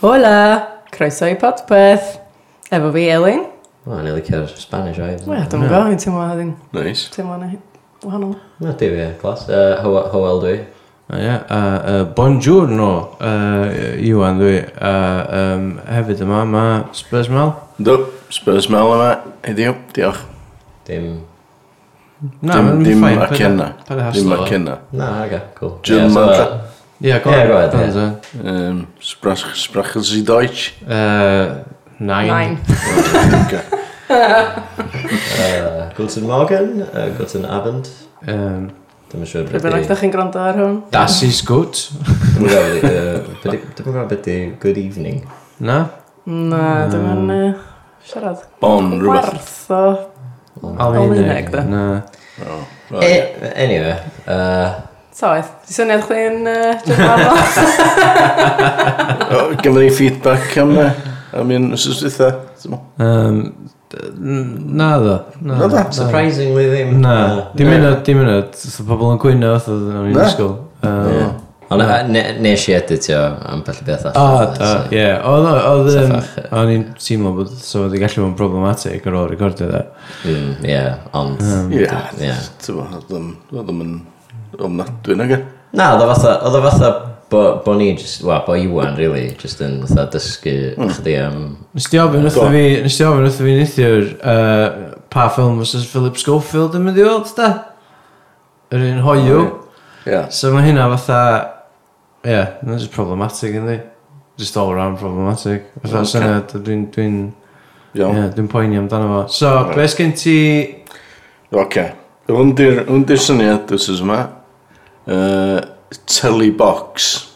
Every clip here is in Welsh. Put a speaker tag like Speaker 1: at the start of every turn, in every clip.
Speaker 1: Hola! Croeso i podpeth. Efo fi, Elin.
Speaker 2: O, ni licio'r Spanish oed.
Speaker 1: Wel, dwi'n go, fi'n teimlo hyn.
Speaker 3: Nice.
Speaker 1: Teimlo na hyn. Wahanol.
Speaker 2: Na, di fi, glas. Uh, Howel ho dwi.
Speaker 4: A ie, a yy, bongiorno, yy, Iwan dwi, a yym, hefyd yma, mae Spurs Mel.
Speaker 3: Do, Spurs Mel yma, heddiw, diolch.
Speaker 2: Dim...
Speaker 4: Na,
Speaker 3: Dim-
Speaker 4: ma'n
Speaker 3: dim
Speaker 4: fine,
Speaker 3: ac
Speaker 4: paid a-
Speaker 3: yna.
Speaker 4: paid a
Speaker 3: Dim
Speaker 4: haslo
Speaker 3: ac
Speaker 4: fo.
Speaker 3: yna.
Speaker 2: Na, aga, cool.
Speaker 3: Jim
Speaker 2: so,
Speaker 3: Mantle.
Speaker 4: Ie,
Speaker 2: Ie,
Speaker 4: go
Speaker 2: go
Speaker 4: ahead,
Speaker 2: ahead,
Speaker 4: go ahead.
Speaker 3: Um, sprach, sprachen Sie Deutsch?
Speaker 4: Yy, nine.
Speaker 1: Nain.
Speaker 3: Okay.
Speaker 2: Uh, Gulton Morgan, uh, Gulton Abend.
Speaker 4: Yym,
Speaker 2: Dwi'n siŵr
Speaker 1: Rwy bynnag
Speaker 2: beth
Speaker 1: ydych chi'n gwrando ar hwn.
Speaker 4: Das is good.
Speaker 2: i... Dwi'n gwybod beth i good evening.
Speaker 4: Na?
Speaker 1: Na, dwi'n mynd uh, siarad.
Speaker 3: Bon, rhywbeth.
Speaker 1: Gwarth o... Oh. Almaeneg,
Speaker 4: Almaeneg.
Speaker 1: de.
Speaker 4: Na.
Speaker 3: Right.
Speaker 2: Eh, Anyway, uh,
Speaker 1: Toeth. Di syniad chdi'n uh, jyfarno?
Speaker 3: O, Gafon ni feedback am e. Am un wrth dweitha.
Speaker 4: Yym, d- n- na ddo. Na
Speaker 3: Na
Speaker 4: ddo.
Speaker 3: dda.
Speaker 2: surprisingly ddim.
Speaker 4: Na, dim unod, dim unod. So pobl yn gwyno oedd o'n i'n
Speaker 3: Na.
Speaker 4: ysgol. Yy,
Speaker 2: Ond uh, ne- nes i editio am bell i beth
Speaker 4: O,
Speaker 2: allan.
Speaker 4: da,
Speaker 2: so-
Speaker 4: Ah, ie. Oedd o- oedd yym,
Speaker 2: Saffach,
Speaker 4: o'n i'n teimlo bod so wedi gallu bod yn problematic ar ôl recordio dda.
Speaker 2: Mm, Ie, ond...
Speaker 4: Ah.
Speaker 3: Ie.
Speaker 2: Ie.
Speaker 3: Ti'n bod, ddim yn ofnadwy nag e.
Speaker 2: Na, oedd o fatha, oedd o fatha bo, bo ni, just, wa, bo Iwan, really, just yn fatha dysgu
Speaker 4: Mm.
Speaker 2: chdi am...
Speaker 4: Nes di ofyn
Speaker 3: Do.
Speaker 4: wrtho fi, nes di ofyn wrtho fi neithiwr uh, pa ffilm os oes Philip Schofield yn mynd i weld, da? Yr un hoiw.
Speaker 3: Ie.
Speaker 4: So mae hynna fatha, ie, yeah, mae'n just problematic yn di. Just all around problematic. Fatha okay.
Speaker 3: Ocê.
Speaker 4: syniad, dwi'n, dwi'n, ie,
Speaker 3: Iawn.
Speaker 4: yeah, dwi'n poeni amdano fo. So, be sgen ti...
Speaker 3: Oce. Hwn di'r hwn di'r syniad wrth yma. Uh, Telebox.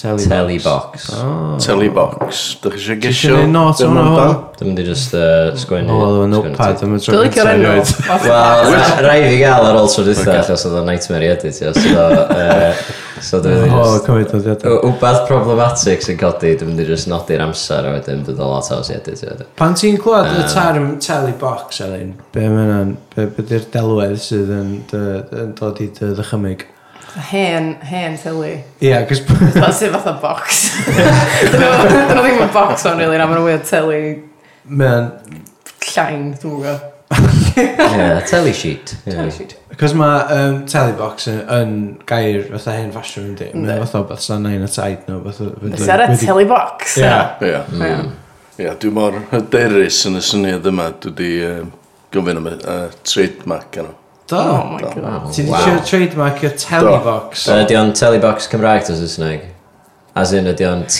Speaker 2: Telebox.
Speaker 4: Oh.
Speaker 3: Telebox. Dych chi eisiau
Speaker 4: Ti
Speaker 3: gesio?
Speaker 4: isio neud notes
Speaker 3: be'
Speaker 4: hwnna,
Speaker 3: ma'n
Speaker 4: hwn?
Speaker 3: dan?
Speaker 2: Dwi'n mynd i just uh, sgwennu...
Speaker 4: O, Oh,
Speaker 2: sgwennu
Speaker 4: oedd o'n notepad am y tro
Speaker 1: Dwi'n licio'r
Speaker 4: gynta,
Speaker 1: enw.
Speaker 4: erioed.
Speaker 2: Wel, ra- rai fi gael ar ôl tro dwytha, achos oedd o'n nightmare i edit, ia, so... yy, So dwi'n mynd i
Speaker 4: O,
Speaker 2: just...
Speaker 4: cymryd o ddiadau.
Speaker 2: w- Wbath problematic sy'n codi, dwi'n mynd i just nodi'r amser a wedyn bydd o lot haws i edit. ia, de.
Speaker 4: Pan ti'n clywed y term telly box, Elin, be mae'n be, be di'r delwedd sydd yn, dy, yn dod i dy ddychymyg?
Speaker 1: Hen, hen teli.
Speaker 4: Ie, yeah, cos...
Speaker 1: Fatha sydd fatha box. Dyn nhw dyn nhw ddim yn box o'n rili, na maen nhw'n weird teli
Speaker 4: Mae'n...
Speaker 1: llain, dwi'n gwybod.
Speaker 2: Ie, telly sheet. ie.
Speaker 4: Cos mae um, telly box yn, yn gair fatha hen ffasiwn yndi. Mae'n
Speaker 1: Yndi.
Speaker 4: fatha beth sa'n nain a taid nhw.
Speaker 1: Is that a
Speaker 4: Fatha...
Speaker 1: telly box?
Speaker 4: Ie.
Speaker 3: Ie. Ie, dwi mor hyderus yn y syniad yma. Dwi di um, gofyn am y uh, trademark yno.
Speaker 4: Do.
Speaker 1: Oh my god.
Speaker 2: Wow.
Speaker 4: Ti wedi siarad trademark i'r telly box.
Speaker 2: So ydy o'n telebox Cymraeg to Saesneg? As in ydy o'n E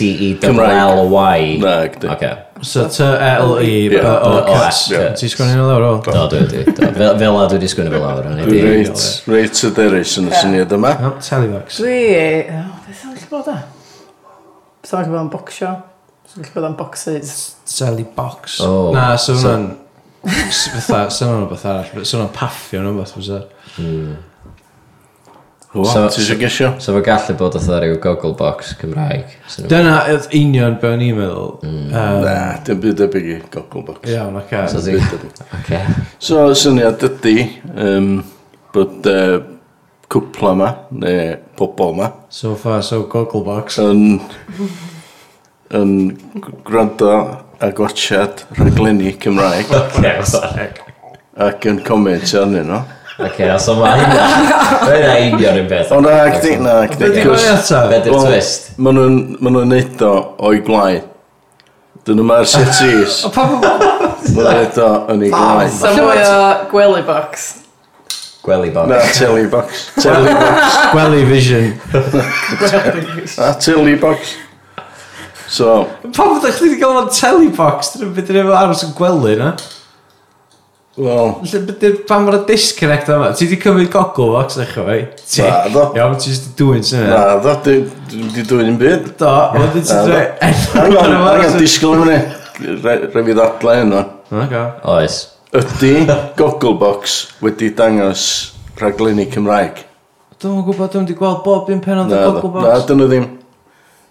Speaker 2: T-E-L-L-Y?
Speaker 3: Na, gdy.
Speaker 2: Oce.
Speaker 4: So E T-L-E-B-O-C-S.
Speaker 2: Ie.
Speaker 4: Ti'n sgwrdd i'n lawr o?
Speaker 2: Do, dwi wedi. do. Fel fel a dwi wedi sgwini fel awr. hwnna
Speaker 3: Dwi
Speaker 2: ydi-
Speaker 3: reit, reit hyderus yn y syniad yma.
Speaker 4: No, telly box.
Speaker 1: Dwi... o, Beth sy'n gallu bod e? Beth sy'n gallu bod yn bocsio? Sy'n gallu bod yn boxes?
Speaker 4: Sally Box.
Speaker 2: O.
Speaker 4: Na, so hwnna'n... s- Fatha, so hwnna'n beth arall. So hwnna'n paffio nhw beth fysa.
Speaker 3: Wel,
Speaker 2: So-
Speaker 3: Ti eisiau gesio?
Speaker 2: So fe gallu bod oedd rhyw goggle box Cymraeg. sy'n-
Speaker 4: Dyna oedd union be o'n i'n meddwl. Yym,
Speaker 3: Na, dim byd debyg i gogl box.
Speaker 4: Iawn, oce.
Speaker 2: So
Speaker 3: Dim
Speaker 2: di...
Speaker 3: byd debyg.
Speaker 2: Oce.
Speaker 3: So, y syniad ydy um, bod uh, cwpla yma, neu pobol yma,
Speaker 4: So far, so goggle box.
Speaker 3: yn, yn gwrando a gwachad rhaglenni Cymraeg
Speaker 2: Oce, sorry.
Speaker 3: ac yn comment arnyn nhw.
Speaker 2: Oce, so mae hynna... Mae hynna union yn beth.
Speaker 3: O na, gdi, na, gdi.
Speaker 4: Be di gwneud
Speaker 2: Fe
Speaker 4: eto?
Speaker 2: di'r twist.
Speaker 3: Ma' nhw'n ma' nhw'n neud o o'i glau. Dyn nhw'n ma'r setis. Ma' nhw'n neud o yn ei glau.
Speaker 1: So mwy o gwely box.
Speaker 2: Gwely
Speaker 3: Na,
Speaker 2: box.
Speaker 3: telly box. Telly box.
Speaker 4: Gwely vision.
Speaker 3: Na, telly box. So,
Speaker 4: Pam ydych chi wedi gael o'n telly box? Dyna beth ydych efo aros yn gwely, na?
Speaker 3: wel,
Speaker 4: Lle beth ydych pan mae'r disconnect yma? Ti wedi cymryd goggle box eich o fe? Ti?
Speaker 3: Na, do.
Speaker 4: Iawn, ti wedi dwy'n syniad.
Speaker 3: na, ddo, dwi wedi dwy'n un byd.
Speaker 4: Do, ond ti
Speaker 3: Na, do.
Speaker 4: wedi
Speaker 3: Hang on, hang on,
Speaker 4: dweud...
Speaker 3: disgwyl yn fyny. Rai fi ddadlau yno.
Speaker 4: Oce.
Speaker 2: Oes.
Speaker 3: Ydy Gogglebox wedi dangos rhaglenni Cymraeg?
Speaker 4: Dwi'n yn gwybod, dwi'n wedi gweld bob un penod
Speaker 3: Na,
Speaker 4: o
Speaker 3: ddo.
Speaker 4: Goggle
Speaker 3: na,
Speaker 4: Box.
Speaker 3: dyn nhw ddim.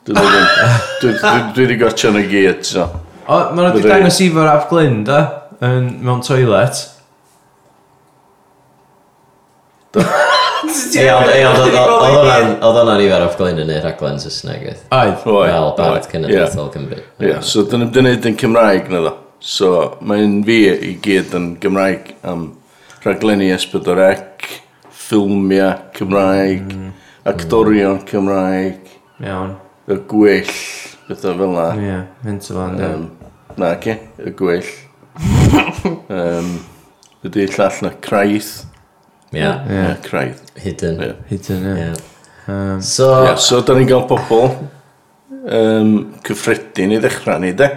Speaker 3: Dyn nhw ddim. Dwi- dwi- Dwi wedi gotio nhw i gyd, so.
Speaker 4: O, maen nhw wedi
Speaker 3: Fydda i.
Speaker 4: dangos i fo'r app glyn, da, yn, mewn toilet.
Speaker 2: Ie, ond- ie, ond oedd- oedd hwnna'n- Oedd hwnna'n nifer o'r glyn yn y raglen Saesneg oedd.
Speaker 4: Oedd.
Speaker 3: Oi,
Speaker 2: Fel
Speaker 3: oi,
Speaker 2: Bart
Speaker 3: ie.
Speaker 2: Cenedlaethol Cymru.
Speaker 3: Ie, so dyn nhw'n dynnu yn Cymraeg na ddo. So mae'n fi i gyd yn Gymraeg am rhaglenni Esbydorec, ffilmiau Cymraeg,
Speaker 4: Mm.
Speaker 3: actorion Cymraeg,
Speaker 4: Iawn.
Speaker 3: y gwyll, bethau fel na.
Speaker 4: Ie, mynd o fan.
Speaker 3: Um, na, ce, y gwyll. um, Ydy llall na craidd.
Speaker 2: Ie,
Speaker 4: Ie.
Speaker 3: Ie, craidd.
Speaker 2: hidden.
Speaker 3: Ie.
Speaker 4: Hyd yn, ie.
Speaker 2: Ie.
Speaker 4: Yym,
Speaker 2: So,
Speaker 3: Ie, so da ni'n cael pobl um, cyffredin i ddechrau ni, de?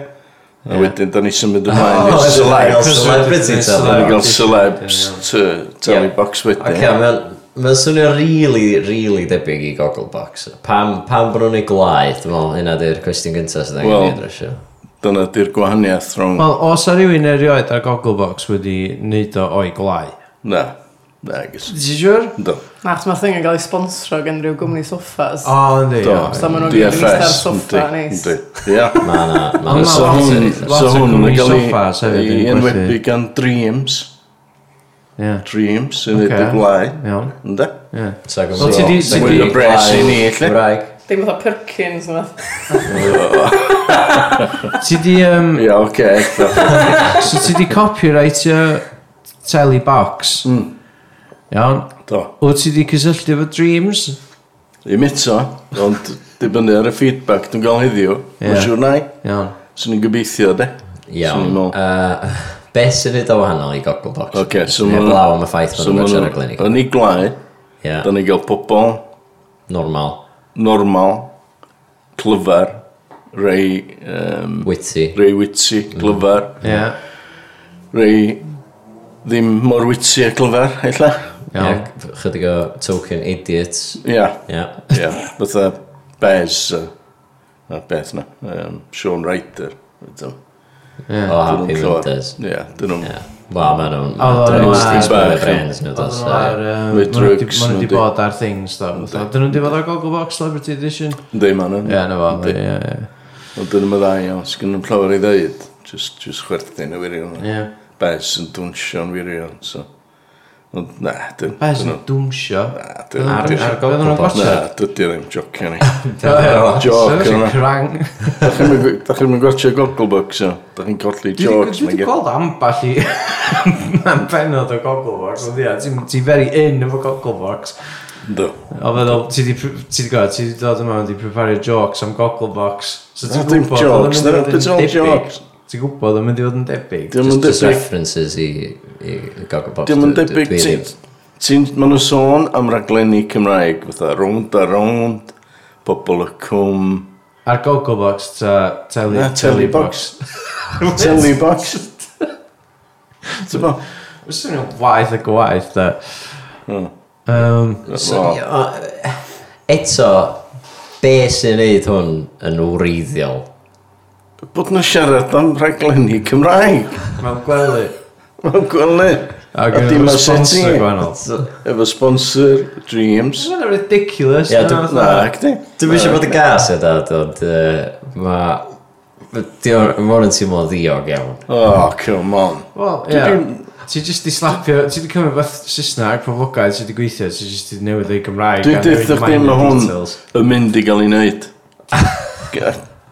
Speaker 3: A wedyn, da ni symud ymlaen
Speaker 2: Oh,
Speaker 3: i'r
Speaker 2: fel
Speaker 3: slides.
Speaker 2: celebrity
Speaker 4: Celebrity
Speaker 2: tel.
Speaker 3: Da ni'n cael
Speaker 4: Ie.
Speaker 3: celebs to tell
Speaker 2: Ie.
Speaker 3: me box
Speaker 2: Ac
Speaker 3: wedyn.
Speaker 2: ia, mae'n swnio rili, rili debyg i Gogglebox. Pam, pam bod nhw'n ei glai, dwi'n meddwl, hynna di'r cwestiwn gyntaf sydd angen
Speaker 3: Wel.
Speaker 2: i ddrysio.
Speaker 3: Dyna di'r gwahaniaeth rhwng...
Speaker 4: Wel, os a rhywun erioed ar Gogglebox wedi neud o o'i glau.
Speaker 3: Na, na, gys.
Speaker 4: Ti'n siwr?
Speaker 3: Do.
Speaker 1: Na, chos mae'r thing yn cael ei sponsro gen rhyw gwmni soffas.
Speaker 4: O, ynddi.
Speaker 3: Do.
Speaker 1: so ma' nhw'n
Speaker 3: DFS,
Speaker 1: mynd i'r soffa,
Speaker 3: yndi,
Speaker 1: neis.
Speaker 3: yndi. Ie.
Speaker 2: Ma' na, ma'
Speaker 4: Ond
Speaker 2: na
Speaker 4: ma'
Speaker 3: So
Speaker 4: lot-
Speaker 3: hwn,
Speaker 4: lot
Speaker 3: so
Speaker 4: o
Speaker 3: hwn yn
Speaker 4: cwmni
Speaker 3: cael
Speaker 4: soffas hefyd
Speaker 3: ei
Speaker 4: yn
Speaker 3: enwebu
Speaker 4: gwerthu.
Speaker 3: gan Dreams.
Speaker 4: Ie,
Speaker 3: Dreams yn
Speaker 4: Ocê.
Speaker 3: edrych blaen.
Speaker 4: iawn.
Speaker 3: Ynda?
Speaker 4: Ie.
Speaker 2: So,
Speaker 4: So ti di- ti
Speaker 3: Mwy
Speaker 4: di-
Speaker 3: o bres i ni, lle.
Speaker 2: Gymraeg.
Speaker 1: Dim fatha Perkins yna.
Speaker 4: Ti di, yym,
Speaker 3: Ie, oce.
Speaker 4: so ti di copyrightio Telly Box. Iawn.
Speaker 3: Do.
Speaker 4: Wyt ti di cysylltu efo Dreams?
Speaker 3: Ddim eto, ond dibynnu ar y feedback dwi'n gael heddiw.
Speaker 4: Ie.
Speaker 3: Mae'n siŵr nai.
Speaker 4: Iawn.
Speaker 3: Swn i'n gobeithio, de.
Speaker 2: Iawn. Yy, Be sy'n ei wahanol i Gogglebox?
Speaker 3: Oce, so
Speaker 2: Neu
Speaker 3: ma' nhw-
Speaker 2: blaw am y ffaith bod
Speaker 3: So
Speaker 2: nhw'n
Speaker 3: maen
Speaker 2: gwerthu'r
Speaker 3: nhw
Speaker 2: aglenni.
Speaker 3: yn ei glau,
Speaker 2: Ie,
Speaker 3: da ni'n gael pobl
Speaker 2: normal,
Speaker 3: normal, clyfar, rei, um,
Speaker 2: witty.
Speaker 3: rei witsi, clyfar,
Speaker 4: Mm. Ie.
Speaker 3: rei ddim mor witsi a clyfar, eitha.
Speaker 2: Ie,
Speaker 4: Iawn.
Speaker 2: chydig o token idiots.
Speaker 3: Ia,
Speaker 2: Ie.
Speaker 3: ia, fatha Bez, uh, a beth na, um, Sean Ryder. ydyn nhw.
Speaker 4: Ie.
Speaker 3: Dyn
Speaker 2: O,
Speaker 3: nhw'n
Speaker 2: happy
Speaker 3: clyfar.
Speaker 2: winters.
Speaker 3: Ie, dyn nhw'n
Speaker 2: Ie. Wel, ma' nhw'n...
Speaker 4: O,
Speaker 2: ma' nhw'n
Speaker 4: wel,
Speaker 2: stigma
Speaker 3: bach,
Speaker 2: o'r brains nhw,
Speaker 4: Oedden
Speaker 2: dos,
Speaker 4: nhw ar,
Speaker 2: ie.
Speaker 4: yym,
Speaker 3: With
Speaker 4: ma' nhw 'di-
Speaker 3: drugs,
Speaker 4: ma' nhw
Speaker 3: yndi.
Speaker 4: wedi bod ar things, do. fatha. Dyn nhw wedi bod ar Gogglebox Celebrity Edition?
Speaker 3: Ynddi ma'n nhw.
Speaker 4: Ie, na fo.
Speaker 3: Yndi.
Speaker 4: Ie, ie.
Speaker 3: Ond dyn nhw'n dda iawn, sgyn nhw'n llawer i ddeud. Just, just chwerthin y wirion.
Speaker 4: Ie.
Speaker 3: Bes yn dwnsio'n wirion, so. Ond na, dyn
Speaker 4: Be
Speaker 3: dyn
Speaker 4: sy'n
Speaker 3: nhw-
Speaker 4: dwmsio?
Speaker 3: Na, dyn
Speaker 4: Dyn
Speaker 3: nhw'n
Speaker 4: nhw'n dwmsio.
Speaker 3: dwnsio.
Speaker 4: Gofyn nhw'n gwatsio?
Speaker 3: Na, dydy ddim jocio ni.
Speaker 4: Joc
Speaker 3: Joc
Speaker 4: yn
Speaker 3: yna.
Speaker 4: crang.
Speaker 3: Da chi'n mynd gwerthu Gogglebox, o. Da chi'n colli jocs.
Speaker 4: Dwi wedi gweld amball i am benod o Gogglebox. Ond ia, ti very in efo Gogglebox.
Speaker 3: Do.
Speaker 4: O feddwl, ti di pr- ti di gweld, ti di dod yma wedi prepario jocs am Gogglebox. So ti'n
Speaker 3: Na, dim
Speaker 4: gwybod
Speaker 3: jocs,
Speaker 4: oedd o'n mynd
Speaker 3: they're
Speaker 4: i fod yn
Speaker 3: all
Speaker 4: debyg.
Speaker 3: jocs.
Speaker 4: Ti'n gwybod oedd o'n mynd i fod yn debyg.
Speaker 3: Dyn nhw'n
Speaker 2: Just- Just
Speaker 3: debyg.
Speaker 2: references i i Gogglebox.
Speaker 3: Dyn nhw'n
Speaker 2: Dwi- dwi-
Speaker 3: debyg.
Speaker 2: dwi
Speaker 3: ti-
Speaker 2: ddim-
Speaker 3: Ti'n, maen nhw sôn am raglenni Cymraeg, fatha rownd a rownd, pobl y cwm.
Speaker 4: Ar Gogglebox ta teli...
Speaker 3: Na, telebox. Telebox. Ti'n bo?
Speaker 4: Fyswn nhw'n waith ac waith, da.
Speaker 3: Hmm.
Speaker 4: Um,
Speaker 2: So, o- Eto, be sy'n neud hwn yn wreiddiol?
Speaker 3: Bod nhw siarad am raglenni Cymraeg.
Speaker 4: Mae'n gwely.
Speaker 3: Mae'n gwely.
Speaker 4: A
Speaker 3: A
Speaker 4: gynnu
Speaker 3: dim
Speaker 4: nhw'n
Speaker 3: y
Speaker 4: sponsor
Speaker 3: setting.
Speaker 4: gwahanol.
Speaker 3: Efo sponsor, Dreams.
Speaker 4: Mae'n ridiculous.
Speaker 2: Ie,
Speaker 4: na,
Speaker 2: dwi-
Speaker 3: Na,
Speaker 4: fatha.
Speaker 3: gdi.
Speaker 2: Dwi'n eisiau bod y gas y dad, ond yy, ma... Mae'n yn teimlo ddiog iawn.
Speaker 3: Oh, come on.
Speaker 4: Wel,
Speaker 3: Dwi
Speaker 4: ie.
Speaker 3: ddim-
Speaker 4: Ti jyst di slapio, ti di cymryd beth Saesneg, poblogaidd, ti di gweithio, ti jyst di newid ei Gymraeg.
Speaker 3: Dwi'n
Speaker 4: a
Speaker 3: deud
Speaker 4: newid
Speaker 3: wrtha chdi
Speaker 4: minor
Speaker 3: ma' hwn-
Speaker 4: details.
Speaker 3: Y mynd i gael ei wneud.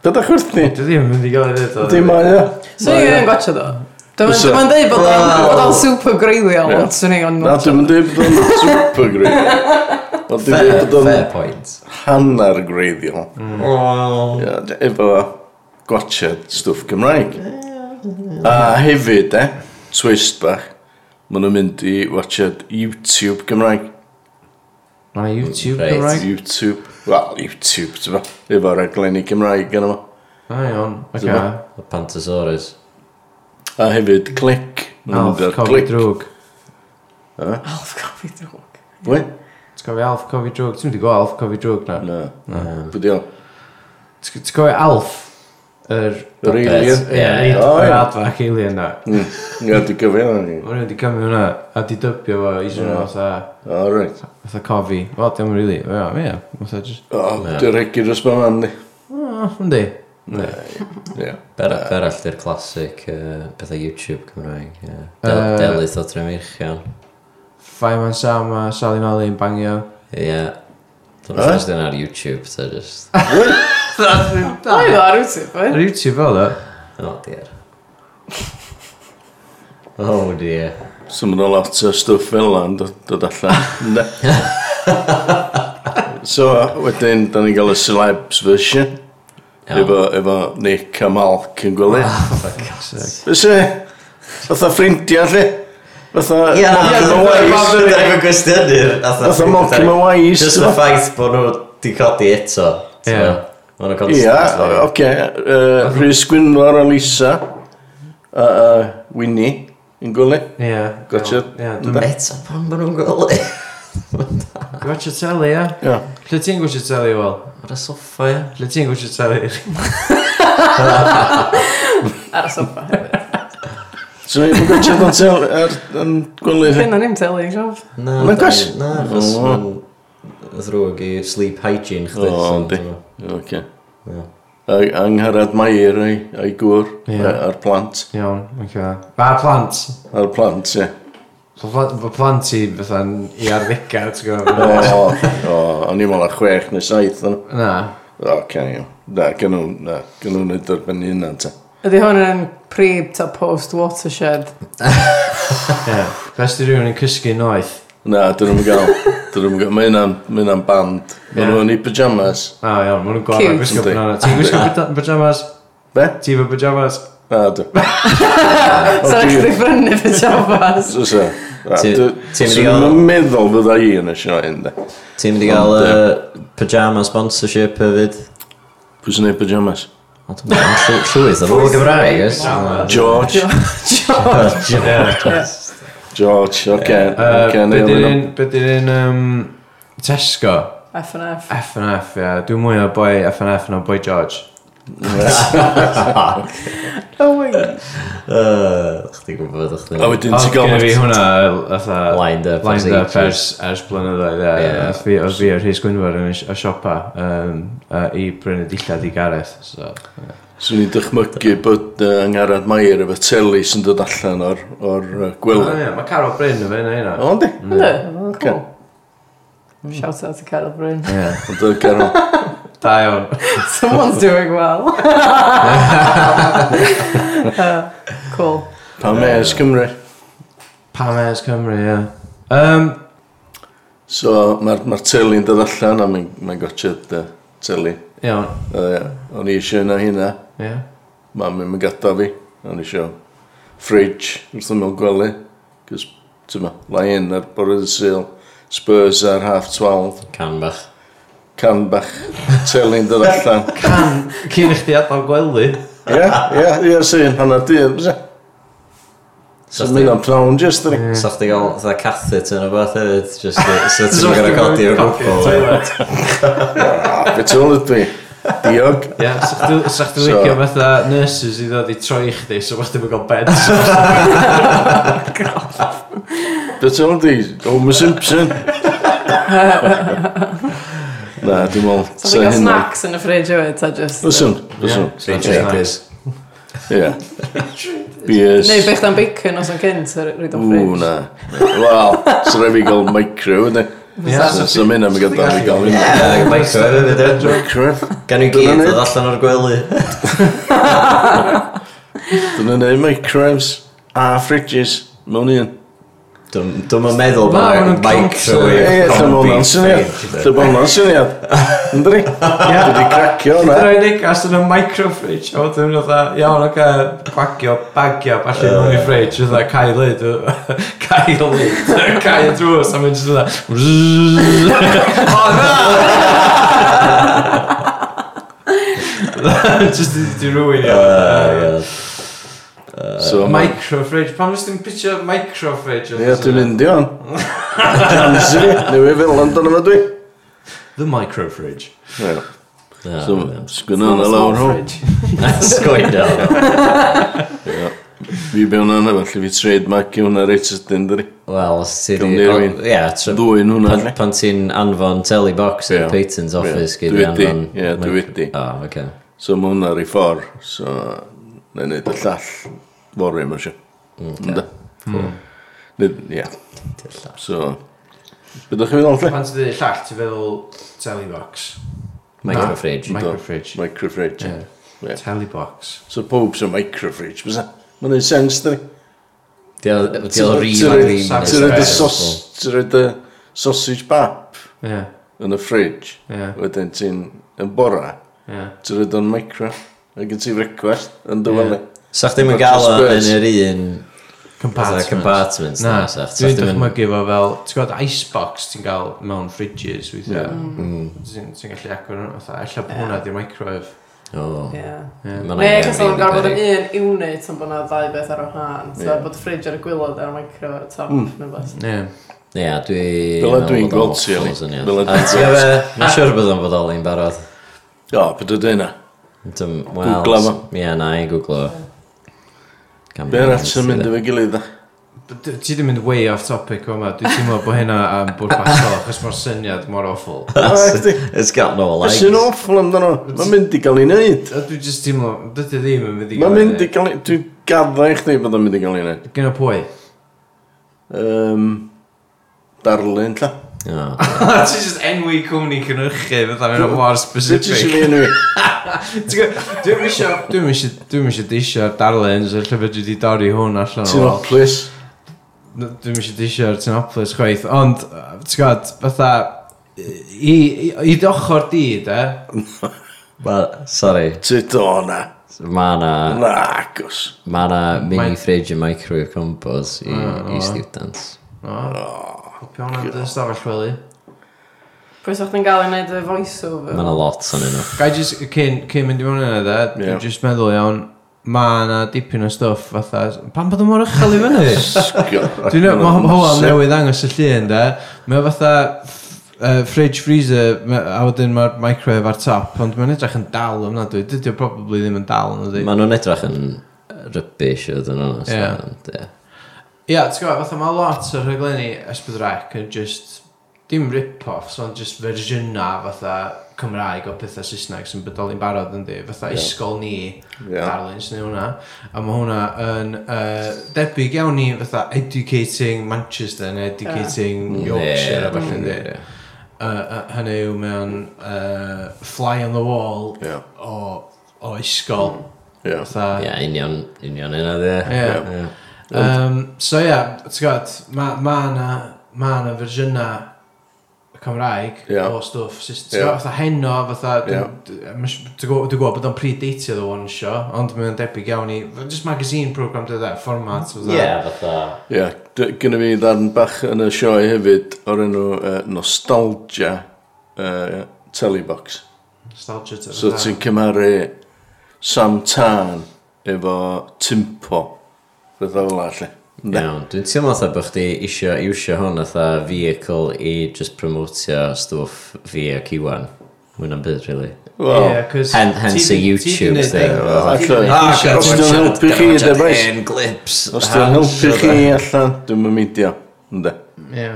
Speaker 3: Dada chwrthni.
Speaker 4: Dwi ddim yn mynd i gael ei ddweud o.
Speaker 3: Di mae e. o.
Speaker 1: So i'n gwneud gwacha do. Dwi'n
Speaker 3: Fysa.
Speaker 1: dwi'n dweud bod o'n- bod o'n super greiddiol,
Speaker 3: Ie.
Speaker 1: ond swn i'n
Speaker 3: Na, dwi'n mynd i bod o'n super greiddiol. Ond dwi'n
Speaker 2: Fair
Speaker 3: mynd bod
Speaker 2: fair
Speaker 3: o'n
Speaker 2: point.
Speaker 3: hanner greiddiol.
Speaker 2: Wel...
Speaker 3: Ie, d- Efo gwachod stwff Gymraeg. A hefyd, e, twist bach, maen nhw'n mynd i watchad YouTube Gymraeg.
Speaker 4: Mae YouTube
Speaker 2: Reit.
Speaker 4: Gymraeg.
Speaker 3: YouTube. Wel, YouTube, ti'n fa. Efo raglenni Gymraeg gan yma.
Speaker 4: A iawn, oce.
Speaker 3: Dyma.
Speaker 2: Y Pantasaurus.
Speaker 3: A hefyd, click. Ma' nhw'n
Speaker 4: Alf
Speaker 3: mynd ar
Speaker 4: Cofi
Speaker 3: click.
Speaker 4: Drwg.
Speaker 1: Alf coffee drwg.
Speaker 3: Wy?
Speaker 4: Ti'n cofio Alf Cofi Drwg? Ti'n mynd i gweld Alf Cofi Drwg na?
Speaker 3: Na. Byddi o.
Speaker 4: Ti'n ti'n cofio Alf? Yr...
Speaker 3: Yr alien.
Speaker 4: Ie,
Speaker 2: Ie.
Speaker 4: yr
Speaker 3: O, ie.
Speaker 4: adfach alien na.
Speaker 3: Ie, di gyfio hwnna ni.
Speaker 4: Mae'n wedi cymryd hwnna a di dybio fo i sy'n fatha
Speaker 3: O, reit.
Speaker 4: fatha cofi. Wel, dim rili. Ie, ie. Fatha jyst...
Speaker 3: O, dwi'n regu dros ma man ni.
Speaker 4: O, yndi. Yndi.
Speaker 3: Ie.
Speaker 2: Ber- Berall di'r clasic yy, pethau YouTube Cymraeg. ie.
Speaker 4: Yy.
Speaker 2: Del- Delyth o Tremirchion.
Speaker 4: Fireman Sam a Sally Mally yn bangio.
Speaker 2: Ie. Dwi'n rhaid sydd ar YouTube, ta just...
Speaker 1: Oedd o ar YouTube,
Speaker 4: Ar
Speaker 1: oedd?
Speaker 4: YouTube fel o.
Speaker 2: Oh, dear. Oh, dear.
Speaker 3: So mae'n lot o stwff fel yna yn dod- dod allan. Ynde? so wedyn, da ni'n cael y celebs version.
Speaker 2: Iawn.
Speaker 3: Efo, efo Nick a Malc yn gwely.
Speaker 4: Sick.
Speaker 3: Fes e? Fytha ffrindiau lle? Fytha...
Speaker 2: Ie, na,
Speaker 3: Malcolm
Speaker 2: dwi'n
Speaker 3: and Wise.
Speaker 2: rhaid yn gwestiynir.
Speaker 3: Fatha Malcolm and Wise,
Speaker 2: Just
Speaker 3: tibod?
Speaker 2: the ffaith bod nhw di codi eto.
Speaker 4: Ie.
Speaker 2: Mae'n
Speaker 3: Ia,
Speaker 2: constant.
Speaker 3: oce. yy, Rhys Gwynfor a Lisa. A a Winnie yn gwely.
Speaker 4: Ie.
Speaker 3: Gotcha.
Speaker 4: Ie,
Speaker 2: Ie.
Speaker 4: dwi'n
Speaker 2: Eto, pan bod nhw'n gwely?
Speaker 4: gwachio teli, ie.
Speaker 3: Ia.
Speaker 4: Lle ti'n gwachio teli, wel?
Speaker 2: Ar y soffa, ie.
Speaker 4: Lle ti'n gwachio teli?
Speaker 1: Ar y sofa.
Speaker 3: So ni'n gwybod yn tel ar er, yn gwely. lle?
Speaker 1: Fyna ni'n teli, i'n siarad.
Speaker 2: Na,
Speaker 3: Mae'n
Speaker 2: da-
Speaker 3: gwers-
Speaker 2: Na, achos
Speaker 3: O.
Speaker 2: mae'n ddrwg i sleep hygiene
Speaker 3: O,
Speaker 2: chdi. so,
Speaker 3: yndi.
Speaker 2: dyna.
Speaker 3: Oce.
Speaker 2: Ie.
Speaker 3: A'i angharad mair a'i, ai gwr,
Speaker 4: Ie.
Speaker 3: a- a'r plant.
Speaker 4: Iawn, oce. Ba plant.
Speaker 3: A'r plant, ie.
Speaker 4: Fy plant- fy plant i fatha'n i ar ddegau, ti'n
Speaker 3: O,
Speaker 4: gwybod?
Speaker 3: o, o'n i'n meddwl a chwech neu saith. o'n-
Speaker 4: Na.
Speaker 3: O, can iawn. Na, gan nhw'n, na, gan nhw'n ei dderbynu hynna, ta.
Speaker 1: Ydy hwn yn prib ta post watershed.
Speaker 4: Ie. Fes di rhywun yn cysgu noeth.
Speaker 3: Na, dyn nhw'n gael. Dyn nhw'n gael. Mae hynna'n- mae hynna'n band. Mae
Speaker 4: Ie.
Speaker 3: nhw'n i pyjamas.
Speaker 4: A iawn, maen nhw'n gwael
Speaker 1: Cute.
Speaker 4: gwisgo banana. Ti'n gwisgo pyja- pyjamas?
Speaker 3: Be?
Speaker 4: Ti fy pyjamas?
Speaker 3: Na, dyn.
Speaker 1: Sa'n actually ffynnu fy jafas.
Speaker 3: So, so.
Speaker 2: Ti- ti'n mynd i
Speaker 3: Dwi'n
Speaker 2: gael-
Speaker 3: meddwl fydda i yn y sioe, ynddo.
Speaker 2: Ti'n mynd i gael
Speaker 3: Ond,
Speaker 2: y pyjama sponsorship hefyd?
Speaker 3: Pwy sy'n ei pyjamas?
Speaker 2: O, dwi'n meddwl, llwyth, yn ôl Gymraeg, oes?
Speaker 3: George.
Speaker 4: Ie.
Speaker 3: George, oce. Oce,
Speaker 4: Yy, Be
Speaker 3: neu
Speaker 4: di'n
Speaker 3: hwnnw.
Speaker 4: un- be di'n un yym, Tesco?
Speaker 1: F&F.
Speaker 4: F&F, ie. Dwi'n mwy o boi F&F na boi George.
Speaker 1: Oh my god.
Speaker 2: Yy, Chdi gwybod, chdi.
Speaker 3: A wedyn
Speaker 4: Oedd
Speaker 3: ti'n
Speaker 4: gen i fi
Speaker 3: gael...
Speaker 4: hwnna fatha...
Speaker 2: Lined up as
Speaker 4: Lined up
Speaker 2: ages.
Speaker 4: ers, ers blynyddoedd, ie.
Speaker 2: Ie.
Speaker 4: Oedd fi- Oedd fi ar Rhys Gwynfor yn y si- y siopa yym, yy, i brynu dillad i Gareth. So, ie.
Speaker 3: Swn i'n dychmygu bod uh, Angharad Mair efo teli sy'n dod allan o'r, or uh,
Speaker 4: O,
Speaker 3: gwely.
Speaker 4: ie, Mae Carol Bryn yn fyna hynna.
Speaker 3: O, di.
Speaker 1: Ynddo? Oh, Cool. Shout out to Carol Bryn.
Speaker 4: Ie.
Speaker 3: Ond o'r garol.
Speaker 4: Da iawn.
Speaker 1: Someone's doing well. Uh, Cool.
Speaker 3: Pa mes Cymru.
Speaker 4: Pam Ers Cymru, ie. Um,
Speaker 3: So, mae'r ma teli'n dod allan a mae'n ma gotio'r uh, teli.
Speaker 4: iawn,
Speaker 3: Uh, o'n i eisiau yna hynna.
Speaker 4: ie.
Speaker 3: Mam yn gada fi. O'n i eisiau fridge wrth ymwyl gwely. Cys, ti'n ma, lai un ar bore dy syl. Spurs ar half 12.
Speaker 2: Can bach.
Speaker 3: Can bach teli'n dod allan.
Speaker 4: Can, cyn i chdi adal gwely.
Speaker 3: Ie, ie, ie, sy'n hanner dydd. byse? So
Speaker 2: Sa'ch
Speaker 3: mynd am prawn just yn
Speaker 2: chdi- Sa'ch di gael, fatha, cathit yn o beth hefyd, just, i- so ti'n gwneud codi o'r rwbwl.
Speaker 4: Toilet.
Speaker 3: beth ôl ydw i. Diog.
Speaker 4: Ie, sa'ch di- sa'ch di
Speaker 3: So-
Speaker 4: licio fatha nurses i ddod i troi chdi, so bach ddim yn cael beds.
Speaker 3: Beth ôl ydw i. Homer Simpson. Na, dwi'n mwl.
Speaker 1: So ti'n cael snacks yn y fridge hefyd, ta just...
Speaker 3: Fyswn,
Speaker 2: Free
Speaker 3: fyswn.
Speaker 2: drinkers.
Speaker 3: Ie. Beers.
Speaker 1: uh, Neu bych dan bacon os yn cynt ar rhaid o'n
Speaker 3: Ww,
Speaker 1: fridge.
Speaker 3: na. Wel, sy'n rhaid i gael micro, ydy.
Speaker 4: Ie.
Speaker 3: Sy'n mynd am y gada i gael hynny.
Speaker 2: Ie, mae'n gwybod hefyd, ie.
Speaker 3: Micro.
Speaker 2: Gan nhw
Speaker 3: Dyna
Speaker 2: gyd
Speaker 3: ni.
Speaker 2: oedd allan o'r gwely.
Speaker 3: Dyna neu micros a fridges mewn un.
Speaker 2: Dwi'n dwi'n meddwl bod
Speaker 4: Ma'
Speaker 2: yna
Speaker 4: hwnnw'n
Speaker 2: microwave.
Speaker 3: Ie, lle mae hwnna'n syniad. Lle mae hwnna'n syniad. Ynddi? Ie, dwi cracio hwnna.
Speaker 4: Dwi'n rhoi negas yn y microfridge, a wedyn nhw'n dda, iawn, oce, gwagio, bagio, falle nhw'n i fridge, dda, cael lyd, cael lyd, cael drws, a mynd jyst dda, o na! Just i di rwy'n
Speaker 3: So, mae...
Speaker 4: Microfridge, pam nes ti'n pitio microfridge?
Speaker 3: Ie, dwi'n mynd i hon. Cansi, neu i fel yn dyna fe dwi.
Speaker 4: The microfridge.
Speaker 3: Ie. So, sgwyn hwnna lawr hwn.
Speaker 2: Sgwyd o.
Speaker 3: Fi be hwnna hwnna, felly fi trademark i hwnna reit ydyn, dwi.
Speaker 2: Wel, os ti di...
Speaker 3: Gawn ni rywun.
Speaker 2: o- Ie, tra-
Speaker 3: Ddwy'n hwnna.
Speaker 2: pan- pan ti'n anfon telebox
Speaker 3: Ie.
Speaker 2: i'r patent office
Speaker 3: Ie.
Speaker 2: gyd
Speaker 3: Dwi
Speaker 2: i
Speaker 3: wedi,
Speaker 2: anfon...
Speaker 3: ie, dwi
Speaker 2: mic-
Speaker 3: wedi.
Speaker 2: O, oce.
Speaker 3: So, mae hwnna ar ei ffordd. So, na i wneud y llall. Fory, mae eisiau. Ynda. Nid- Ie,
Speaker 2: Dilla.
Speaker 3: so... Bydwch chi'n meddwl, lle?
Speaker 4: Pan ti'n dweud llall, ti'n feddwl telebox.
Speaker 2: Microfridge.
Speaker 4: Microfridge.
Speaker 3: Microfridge.
Speaker 4: Ie.
Speaker 3: Ie.
Speaker 4: Telebox.
Speaker 3: So pob sy'n microfridge, bysa? Mae'n ei sens, dyn ni?
Speaker 2: Di oedd rhi
Speaker 3: Ti'n
Speaker 2: fan
Speaker 3: rhoi-
Speaker 2: rhi.
Speaker 3: Ti'n rhaid y sos- ti'n rhaid y sausage bap
Speaker 4: Ie,
Speaker 3: yn y fridge.
Speaker 4: ie,
Speaker 3: Wedyn ti'n yn bora,
Speaker 4: ie.
Speaker 3: ti'n rhaid o'n micro. A gen ti request yn dyfalu.
Speaker 2: Sa'ch ddim yn gael o
Speaker 3: Spurs.
Speaker 2: yn yr un fatha
Speaker 4: Compartment.
Speaker 2: compartments
Speaker 4: Na,
Speaker 2: na, sa'ch
Speaker 4: dwi'n
Speaker 2: ddim yn...
Speaker 4: dychmygu fo fel, ti'n gwybod, icebox ti'n cael mewn fridges weithiau. Ti'n ti'n gallu agor nhw, fatha, ella bod hwnna di microwave.
Speaker 2: O,
Speaker 1: Ie.
Speaker 4: Ie.
Speaker 2: ma' 'na
Speaker 1: Neu
Speaker 2: un
Speaker 1: cos o'n
Speaker 2: rili
Speaker 1: gael bod yn
Speaker 2: beryg.
Speaker 1: un unit ond bod yna ddau beth ar y wahân. So
Speaker 3: Ie. Mm.
Speaker 1: bod y ffridge ar y gwylod a'r micro ar y top neu beth.
Speaker 4: Ie.
Speaker 2: Ie, dwi...
Speaker 3: Fel a dwi'n gweld ti, Eli. Fel a dwi'n gweld ti.
Speaker 2: Mae'n siŵr bod o'n bodoli'n barod.
Speaker 3: O, beth ydy hynna?
Speaker 2: Dym- wel,
Speaker 3: Googlo fo.
Speaker 2: Ie, na, i googlo. Gan
Speaker 3: Be'r
Speaker 2: bod
Speaker 3: at yn mynd efo'i gilydd dda?
Speaker 4: But d- Ti di mynd way off topic o yma, dwi'n teimlo bod hynna am bwrpas o, achos mae'r syniad mor awful.
Speaker 2: It's got no legs.
Speaker 3: Ys yn awful amdano? Mae'n mynd i gael ei wneud.
Speaker 4: A Dwi'n just teimlo, dydy ddim yn mynd i
Speaker 3: Mae'n mynd i gael ei... Dwi'n gadda i chdi bod o'n mynd i gael ei wneud.
Speaker 4: Gyn o pwy?
Speaker 3: Um, darlun, lla.
Speaker 2: O,
Speaker 4: Ti'n just enwi cwmni cynrychu, fatha mae'n mor
Speaker 3: Sut ti'n
Speaker 4: specific.
Speaker 3: sy'n enw i?
Speaker 4: Ti'n gwbo- Dwi'm isio, dwi'm isio, dwi'm isio disio'r darlun, so lle fe dwi di dorri hwn allan
Speaker 3: Ti'n hoplis?
Speaker 4: N- Dwi'm eisiau disio'r Tynoplis chwaith, ond, yy, ti'n gwybod, fatha, i, i, i e, dy ochr di, de,
Speaker 2: Wel, sorry,
Speaker 3: Sut o na?
Speaker 2: mae na,
Speaker 3: Na, agos.
Speaker 2: ma na mini
Speaker 4: Mae-
Speaker 2: fridge yn microwave combos i,
Speaker 4: Ah,
Speaker 2: i
Speaker 4: o.
Speaker 2: students.
Speaker 4: popio hwnna yn ystafell wely.
Speaker 1: Pwy sa'ch chi'n gael ei wneud y voice-over?
Speaker 2: Mae na lot o'n nhw.
Speaker 4: Gai just, cyn, cyn mynd i mewn yna, de,
Speaker 3: Ie.
Speaker 4: dwi'n just meddwl iawn, ma na dipyn o stwff, fatha, pan bod yn mor ychel i fyny? Dwi'n meddwl, mae Howell newydd angos y llun, de, mae o fatha, Uh, fridge freezer ma- a wedyn mae'r microwave ar top ond mae'n edrych yn dal yna dwi dydy o probably ddim yn dal yna dwi
Speaker 2: Mae nhw'n edrych yn rybys oedd yn nhw.
Speaker 4: Ie.
Speaker 2: Ie.
Speaker 4: Ia, ti'n gwybod, fatha mae lot o'r rhaglenni Esbydrec yn just, dim rip-offs, ond just fersiynau fatha Cymraeg o pethau Saesneg sy'n bodoli'n barod yn di, fatha yeah. isgol ni,
Speaker 3: Ie.
Speaker 4: yeah. darlins neu hwnna, a mae hwnna yn uh, debyg iawn i fatha educating Manchester neu educating Yorkshire a falle di. Uh, uh, hynny yw mewn uh, fly on the wall
Speaker 3: Ie.
Speaker 4: o, o isgol,
Speaker 3: Ie.
Speaker 4: fatha
Speaker 2: Ie, union, union yna dde.
Speaker 4: Ie. Um, so ia, ti'n gwybod, mae ma na, ma na fersiynna Cymraeg
Speaker 3: Ie.
Speaker 4: o stwff, Saes-
Speaker 3: Ie.
Speaker 4: ti'n gwybod, fatha heno, fatha,
Speaker 3: Ie.
Speaker 4: dwi'n dwi'n gwybod bod o'n predatio ddo one show, ond mae'n debyg iawn i, just magazine program dwi dda, format, fatha.
Speaker 2: Ie, fatha.
Speaker 3: Ie, d- gynna fi ddarn bach yn y sioe hefyd o'r enw uh, Nostalgia uh, Telebox.
Speaker 4: Nostalgia to
Speaker 3: So
Speaker 4: fatha.
Speaker 3: ti'n cymaru Sam Tân efo Timpo. Rydw fel allu.
Speaker 2: Iawn, dwi'n teimlo fatha bod chdi isio iwsio hwn fatha vehicle i just promotio stwff fi ac Iwan. Mwy na'n byd, really.
Speaker 3: Wel,
Speaker 4: Ie, 'cos
Speaker 2: Hen-
Speaker 4: ti-
Speaker 2: hence y
Speaker 4: ti di- ti di
Speaker 2: YouTube
Speaker 4: neud
Speaker 2: thing,
Speaker 4: thing.
Speaker 2: fatha.
Speaker 4: Ti di neud
Speaker 3: Ah,
Speaker 4: iwsio
Speaker 3: Os
Speaker 4: fo.
Speaker 3: dio'n helpu chi,
Speaker 2: Watch out,
Speaker 3: de, boys.
Speaker 2: hen Ah, clips.
Speaker 3: os dwi'n helpu chi allan, dwi'n mynd meidio. Ynde.
Speaker 4: Ie.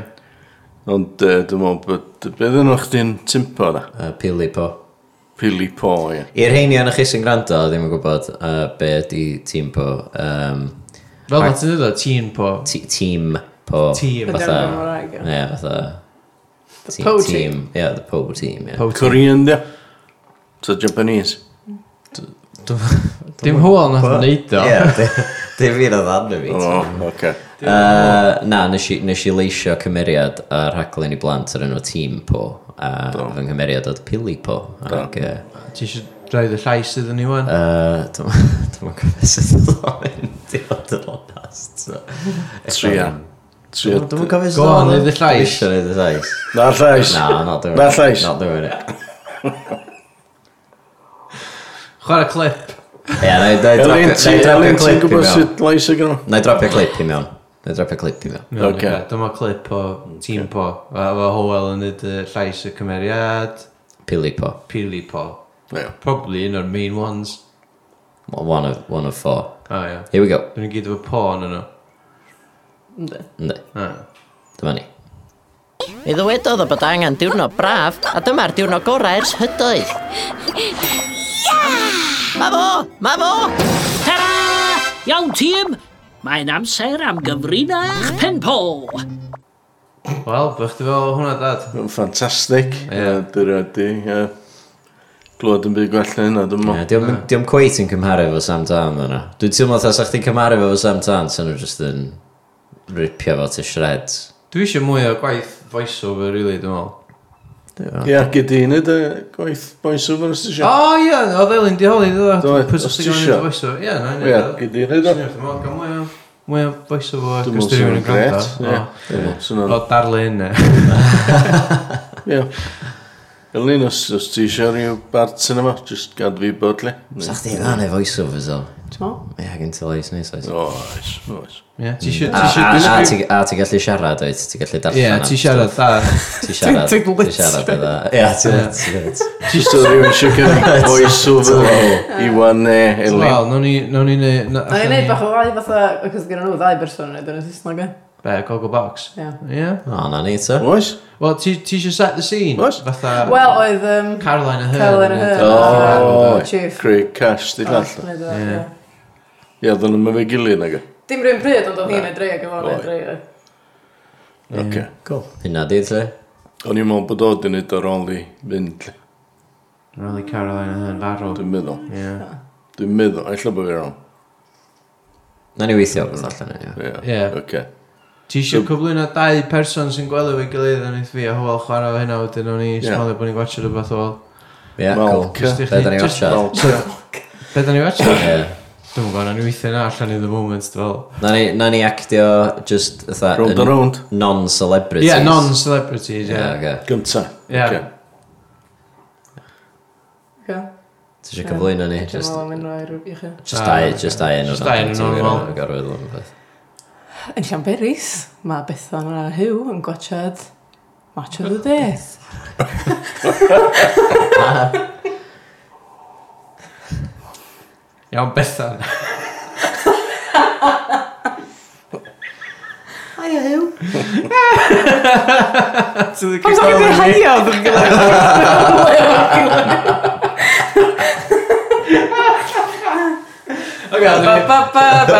Speaker 3: Ond uh, dwi'n meddwl bod... Beth yn o'ch di'n Timpo da?
Speaker 2: Yy, Pili po.
Speaker 3: Pili Po, ie.
Speaker 2: I'r heini yn chi sy'n gwrando a ddim yn gwybod uh, be ydi tîm po. Um,
Speaker 4: Fel na ti'n dweud o, teen po.
Speaker 2: ti- tîm po.
Speaker 4: Tîm.
Speaker 1: Ydy
Speaker 2: Fatha.
Speaker 1: o'n Gymraeg, ie.
Speaker 2: Ie, fatha.
Speaker 1: The Po
Speaker 2: Tîm.
Speaker 1: Team.
Speaker 2: Ie, the po tîm, ie.
Speaker 3: Korean, di? So Japanese?
Speaker 4: Dim hwyl nath o'n neud o.
Speaker 2: Ie, dim fi na ddarnu fi.
Speaker 3: O, oh, oce.
Speaker 2: Uh, na, nes i, nes i leisio cymeriad a rhaglen i blant ar enw tîm po. A fy nghymeriad oedd pili po. Ac, yy,
Speaker 4: Ti eisiau rhaid y llais iddyn ni wan?
Speaker 2: yy, dwi'm yn gwybod sydd oedd o'n mynd i fod yn onast. so.
Speaker 3: Tria. Tria.
Speaker 2: Dwi'n dwi'n gofyn
Speaker 4: Go on, neud y llais.
Speaker 2: Dwi'n neud y llais.
Speaker 3: Na llais.
Speaker 2: No, not doing
Speaker 3: Na
Speaker 2: it.
Speaker 3: llais.
Speaker 2: Not doing it.
Speaker 4: Chwarae clip.
Speaker 2: Ie, na i
Speaker 3: Elin, ti- Elin,
Speaker 2: dropio
Speaker 3: ti'n
Speaker 2: clip i
Speaker 3: gwybod
Speaker 2: mewn.
Speaker 3: sut lais y gynnu?
Speaker 2: Na i dropio clip i mewn. Na i dropio clip i mewn.
Speaker 4: Iawn,
Speaker 3: Ocê.
Speaker 4: ocê. Dyma clip o tîm po. A fo Howell yn nid llais y cymeriad,
Speaker 2: Pili po.
Speaker 4: Pili po.
Speaker 3: Ie.
Speaker 4: Probably un o'r main ones.
Speaker 2: Well, One of, one of four.
Speaker 4: O ia.
Speaker 2: Here we go.
Speaker 4: Dwi'n gyd efo po yn nhw.
Speaker 1: Yndi.
Speaker 2: Ynddi,
Speaker 4: O.
Speaker 2: dyma ni.
Speaker 5: Mi ddywedodd y bod angen diwrnod braf, a dyma'r diwrnod gorau ers hydoedd. Ma fo! Ma fo!
Speaker 6: Tara! Iawn, tîm! Mae'n amser am gyfrinach penpo.
Speaker 4: Wel, bych ti fel hwnna dad.
Speaker 3: Yn ffantastig.
Speaker 4: Ie.
Speaker 3: Ie, dyna di. ie. Glwad yn byd gwell na hynna, dwi'n
Speaker 2: Na,
Speaker 3: meddwl.
Speaker 2: Diolch yn cweit yn cymharu fo Sam Tan yna. Dwi'n teimlo fatha sa chdi'n cymharu fo Sam Tan, sa'n nhw jyst yn ripio fo to shreds.
Speaker 4: Dwi eisiau mwy o gwaith voiceover, really, dwi'n meddwl.
Speaker 3: Ie, gyd i hynny, dy gwaith boes over os ti
Speaker 4: O,
Speaker 3: eisiau.
Speaker 4: ie, o ddilyn di holi, dwi'n
Speaker 3: Do,
Speaker 4: meddwl. Pwys
Speaker 3: os
Speaker 4: os
Speaker 3: ti
Speaker 4: ti'n gwneud
Speaker 3: isio.
Speaker 4: voiceover. Ie, na,
Speaker 3: Ie,
Speaker 4: ie.
Speaker 3: gyd i hynny, do.
Speaker 4: Dwi'n meddwl, gael mwy o... Mwy o voiceover,
Speaker 3: Dwi'n
Speaker 4: gwrs dwi'n
Speaker 3: meddwl
Speaker 4: rhywun yn
Speaker 3: sy'n gret.
Speaker 4: gwrando.
Speaker 3: Ie,
Speaker 4: O.
Speaker 3: dwi'n meddwl sy'n
Speaker 4: O darlun ne.
Speaker 3: Ie. Elin, os, os ti eisiau rhyw bart yn yma, just gad fi bod le.
Speaker 2: Sa chdi'n rhan e voiceovers o?
Speaker 1: Ti'n
Speaker 2: Ie, gen ti leis neis oes.
Speaker 3: Oes, oes.
Speaker 4: Ie, ti eisiau...
Speaker 2: A
Speaker 4: ti isio
Speaker 2: a- a
Speaker 4: disgrif-
Speaker 2: ti- a ti'n gallu siarad oed, ti'n gallu darllen
Speaker 4: Ie,
Speaker 2: am
Speaker 4: ti siarad
Speaker 2: stwff.
Speaker 4: da.
Speaker 2: Ti siarad,
Speaker 1: Ti'n- ti'n
Speaker 2: ti siarad o dda. Ie, ti'n lit.
Speaker 3: Just o rhyw eisiau gyda boes over Iwan ne, Elin.
Speaker 4: Wel, nawn ni... Nawn ni... neu- na-
Speaker 1: Na i
Speaker 4: allan
Speaker 1: wneud
Speaker 4: ni-
Speaker 1: bach o ddau fatha, achos gyda nhw ddau berson yn edrych yn y Saesneg e.
Speaker 4: Be, Goggle Box?
Speaker 1: Ie.
Speaker 4: Ie.
Speaker 2: O, na ni to.
Speaker 3: Oes?
Speaker 4: Wel, ti ti isio set the scene?
Speaker 3: Oes.
Speaker 4: Fatha...
Speaker 1: Wel, oedd um,
Speaker 4: Caroline Ahern.
Speaker 1: Caroline
Speaker 4: innit?
Speaker 1: Ahern. Oh.
Speaker 3: O,
Speaker 1: Chief.
Speaker 3: Craig Cash, di
Speaker 1: Arall
Speaker 3: lall.
Speaker 1: yn neud o,
Speaker 4: Ie.
Speaker 1: ie.
Speaker 3: Ie, ddyn nhw'n mynd gilydd nag e.
Speaker 1: Dim rhywun pryd, ond oedd hi'n edrych ac oedd hi'n
Speaker 3: Oedd.
Speaker 1: edrych.
Speaker 3: Oce.
Speaker 2: Cool. Hynna di, lle.
Speaker 3: O'n i'n meddwl bod o di wneud ar ôl i fynd. le.
Speaker 4: Really Caroline Ahern farw.
Speaker 3: Dwi'n meddwl.
Speaker 4: Ie.
Speaker 3: Dwi'n meddwl, ella bod fi'n wrong.
Speaker 2: Na ni weithio bod allan ni.
Speaker 3: Ie.
Speaker 4: Ie.
Speaker 3: Oce.
Speaker 4: Ti eisiau cyflwyno dau person sy'n gweld efo'i gilydd a wneud fi a hwyl chwarae o hynna wedyn o'n i smalio bod ni'n gwachio rhywbeth o fel.
Speaker 2: Ie,
Speaker 3: Wel,
Speaker 2: cool.
Speaker 3: jyst
Speaker 4: i
Speaker 2: Be
Speaker 4: chdi-
Speaker 2: da ni
Speaker 4: jyst-
Speaker 2: watchad?
Speaker 4: Be da ni gwachio?
Speaker 2: Ie.
Speaker 4: Dwi'n gwybod, na'n i weithio na allan i the moment fel.
Speaker 2: Na ni- Na ni actio just fatha
Speaker 3: Round
Speaker 2: yn
Speaker 3: and round.
Speaker 2: non-celebrities.
Speaker 4: Ie,
Speaker 2: Ie,
Speaker 4: non-celebrities, ie.
Speaker 2: oce.
Speaker 3: Gynta.
Speaker 4: Ie.
Speaker 3: Oce.
Speaker 1: Oce.
Speaker 2: Ti eisiau cyflwyno ni?
Speaker 1: Dwi'n
Speaker 2: Just
Speaker 1: meddwl am enwau rhyw- i chi.
Speaker 2: Just
Speaker 4: Ah,
Speaker 2: dau,
Speaker 4: ocê.
Speaker 2: just dau enw.
Speaker 4: Jyst dau enw normal.
Speaker 2: Gorfod o'n beth.
Speaker 1: Yn Llanberis, mae Bethan a Hugh yn gwachad Match of the Days.
Speaker 4: Iawn, Bethan.
Speaker 1: Hiya Hugh.
Speaker 4: Ti'n
Speaker 1: Pam sa'ch chi'n haia oedd yn gilydd?
Speaker 4: Ok,
Speaker 1: Ba ba ba ba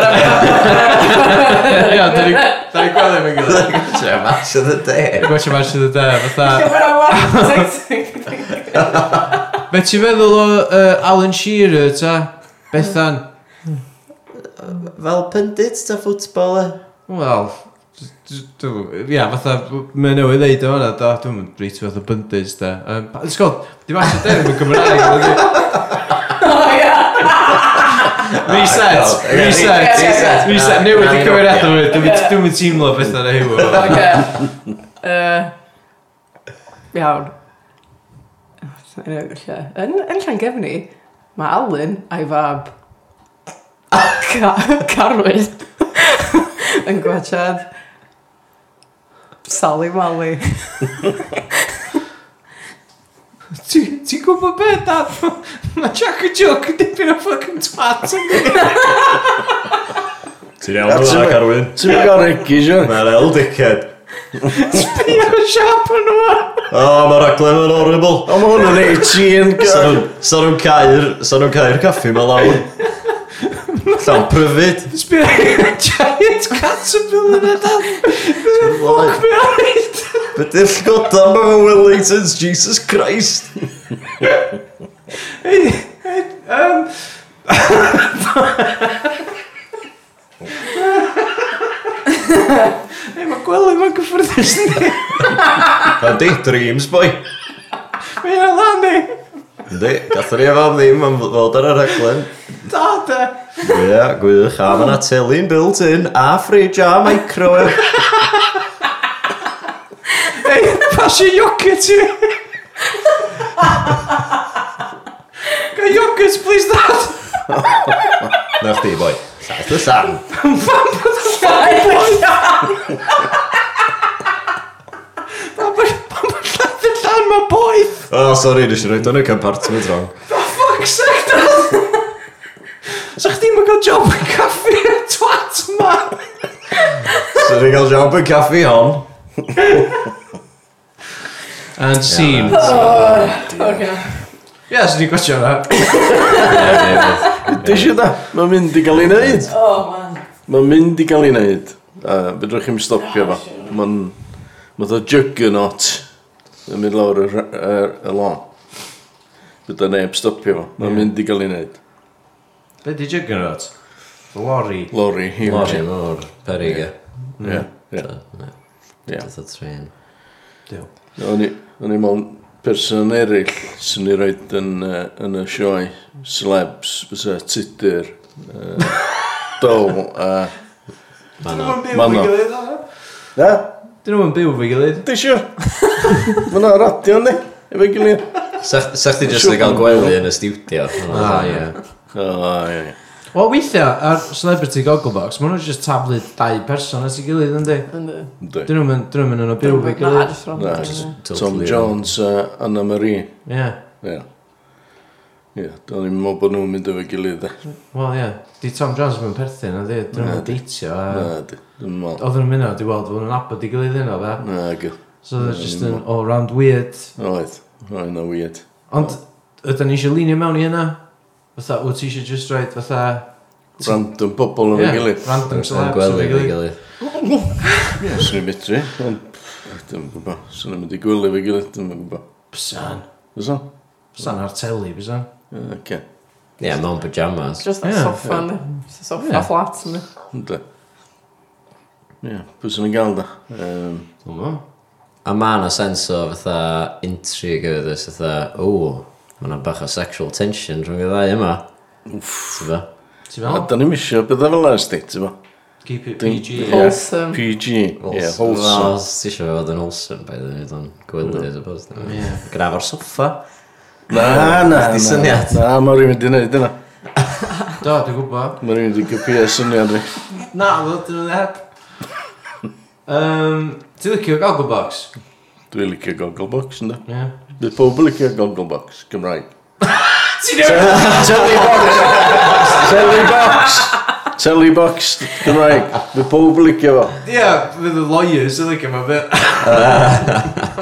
Speaker 4: Ia, da ni gweld efo'i gilydd.
Speaker 2: Ti'n match of the day.
Speaker 4: Gwachio match of the day, fatha...
Speaker 1: ba
Speaker 4: Be ti'n feddwl o uh, Alan Shearer, ta? Bethan?
Speaker 2: Fel pundit ta e. ffwtboler?
Speaker 4: Wel, d- d- dw- ia, fatha, mae newydd ddeud o hwnna, do, dwi'n mynd breit fath o byndes, da. Um, Sgol, di mas o dyn yn Gymraeg, ydy? Reset,
Speaker 2: God.
Speaker 4: reset,
Speaker 1: Reset.
Speaker 4: reset, newid i cymeriadau fi, dwi'n mynd-
Speaker 1: Ie.
Speaker 4: dwi'n mynd teimlo beth yna hiw o.
Speaker 1: Ac e... Yy, Iawn. Yn y lle. Yn, yn Llangefni, mae Alun a'i fab Ca Carwyn yn gwachad Sally Mally.
Speaker 4: Ti- Ti'n gwybod beth, dad? Mae Jack a Joke yn dipyn o fucking twat yn dweud.
Speaker 7: Ti'n iawn o'n dda, Carwyn?
Speaker 3: Ti'n mynd gael regi, John?
Speaker 7: Mae'r el dickhead.
Speaker 4: Ni o'r siap yn o'r.
Speaker 7: O, mae'r aglen yn horrible.
Speaker 3: O, mae hwn yn 18,
Speaker 7: Sa
Speaker 3: gael.
Speaker 7: nhw'n- Sa nhw'n cael, sa nhw'n cael caffi ma lawr. Llawn pryfyd.
Speaker 4: Sbio giant caterpillar na, dad. Fuck me, alright.
Speaker 7: Be di'r llgodan ma fe Wellingtons, Jesus Christ.
Speaker 4: Um, Ei, mae gwely mae'n gyffredus ni.
Speaker 7: A di, dreams boy.
Speaker 4: Mae'n yna lan ni.
Speaker 7: Yndi, gatho ni efo am ddim am fod ar yr aglen.
Speaker 4: Da, da.
Speaker 7: Ie, gwych, a mae yna telyn built-in, a fridge, a microwave.
Speaker 4: Ei, pasio yogurt i. Ga yogurt, please, dad.
Speaker 7: Na chdi, boi. Llaeth y llan.
Speaker 4: Pam bod lladd y llan mae boeth.
Speaker 7: O, sori, nes i roed o'n y compartment wrong.
Speaker 4: Fuck sake, dad. Sa chdi'n mynd gael job yn caffi y twat ma.
Speaker 7: So ni'n cael job yn caffi hon.
Speaker 4: And scene. Ie, sydd wedi gwachio hwnna.
Speaker 3: Di eisiau da? Mae'n mynd i gael ei wneud.
Speaker 1: Oh man.
Speaker 3: Mae'n mynd i gael ei wneud. A fedrwch chi'n stopio fo. Mae'n... Mae'n o juggernaut yn mynd lawr y, rha- y- y lôn. Bydd o neb stopio fo. Mae'n mynd i gael ei wneud.
Speaker 4: Be di Juggernaut? Lori.
Speaker 3: Lori,
Speaker 2: Lori
Speaker 3: huge.
Speaker 2: mor, perig e.
Speaker 3: Ie, ie. Ie.
Speaker 2: Dyth o tren.
Speaker 4: Diw.
Speaker 3: O'n i o'n i mewn person eraill sy'n ei roed yn, uh, yn y sioe celebs, fysa tudur, uh, dol a...
Speaker 4: Dyn nhw'n byw
Speaker 3: Manno.
Speaker 4: fy gilydd o?
Speaker 3: Na,
Speaker 4: Dyn nhw'n byw fy gilydd?
Speaker 3: di siwr. Mae'n radio ni, efo'i gilydd.
Speaker 2: Sa'ch chdi jyst yn cael gwely yn y studio? Ah, ie.
Speaker 3: O, ie, ie.
Speaker 4: Wel, weithiau, ar Celebrity Gogglebox, maen nhw'n just tablet dau person at ei gilydd, yndi?
Speaker 1: Yndi.
Speaker 3: Yndi.
Speaker 4: Dyn nhw'n mynd, dyn nhw'n mynd yn o byw
Speaker 1: Na,
Speaker 4: fy gilydd.
Speaker 1: jyst rhan.
Speaker 3: Na,
Speaker 1: Ie.
Speaker 3: Tom
Speaker 2: Totally
Speaker 3: Jones a Anna Marie.
Speaker 4: Ie.
Speaker 3: Ie. Ie, do'n i'n meddwl bod nhw'n mynd efo gilydd. e.
Speaker 4: Wel, ie. Di Tom Jones yn perthyn, yndi? Dyn nhw'n deitio. a-
Speaker 3: Na, di- dwi'n meddwl.
Speaker 4: Oedden nhw'n mynd o, di weld, bod nhw'n abod i gilydd yno, fe?
Speaker 3: Na, gyl.
Speaker 4: So they're just an all-round weird.
Speaker 3: Oedd. Oedd na weird.
Speaker 4: Ond, ydyn ni eisiau linio mewn i hynna? Fatha, wyt ti eisiau just roed fatha...
Speaker 3: Random pobl
Speaker 4: Ie,
Speaker 3: yn gilydd.
Speaker 4: random
Speaker 2: Yn
Speaker 4: celebs yn
Speaker 2: gwely fi
Speaker 4: gilydd.
Speaker 2: gilydd.
Speaker 3: Ie, Swn i'n mitri. Ond, dwi'n gwybod. Swn i'n mynd i gwylio efo gilydd, dwi'n gwybod.
Speaker 4: Bysan.
Speaker 3: Fyso?
Speaker 4: Bysan ar teli, bysan.
Speaker 3: Oce.
Speaker 2: Ie, mewn pyjamas.
Speaker 1: Just that
Speaker 4: Ie.
Speaker 1: soffa, yndi. Just a
Speaker 4: Ie.
Speaker 1: Soffa flat, yndi.
Speaker 3: Ynddo. Ie, pwy sy'n ei gael da? Yym,
Speaker 4: Dwi'n mo.
Speaker 2: A ma' na sens o fatha intrigue oedd ys fatha, o, ma' na bach o sexual tension rhwng y ddau yma. Ti'n fa?
Speaker 4: Ti'n
Speaker 3: A
Speaker 4: meddwl?
Speaker 3: da ni'n misio beth fel ers di, ti'n bo?
Speaker 4: Keep it
Speaker 3: Dwi'n-
Speaker 4: PG.
Speaker 3: Ie,
Speaker 1: Wholesome.
Speaker 3: PG. Ie,
Speaker 2: Wel,
Speaker 3: wholesome. Mm.
Speaker 2: os ti eisiau fod yn wholesome, paid yn gwneud o'n gwely, I suppose.
Speaker 4: Ie.
Speaker 2: Graf o'r soffa.
Speaker 3: Na, na,
Speaker 2: Chdi
Speaker 3: na.
Speaker 2: syniad.
Speaker 3: Na, mae rhywun wedi gwneud yna.
Speaker 4: Do, dwi'n gwybod.
Speaker 3: Mae rhywun wedi gypio syniad fi.
Speaker 4: Na, dwi'n dwi'n heb. Um, Ti'n licio Gogglebox?
Speaker 3: Dwi'n licio Gogglebox, ynddo.
Speaker 4: Ie.
Speaker 3: Bydd pobl licio Gogglebox, Gymraeg.
Speaker 4: Ti'n ei
Speaker 3: Telly box! Telly box, Gymraeg. Bydd pobl licio fo.
Speaker 4: Ie, fydd y lawyers yn licio fe bit.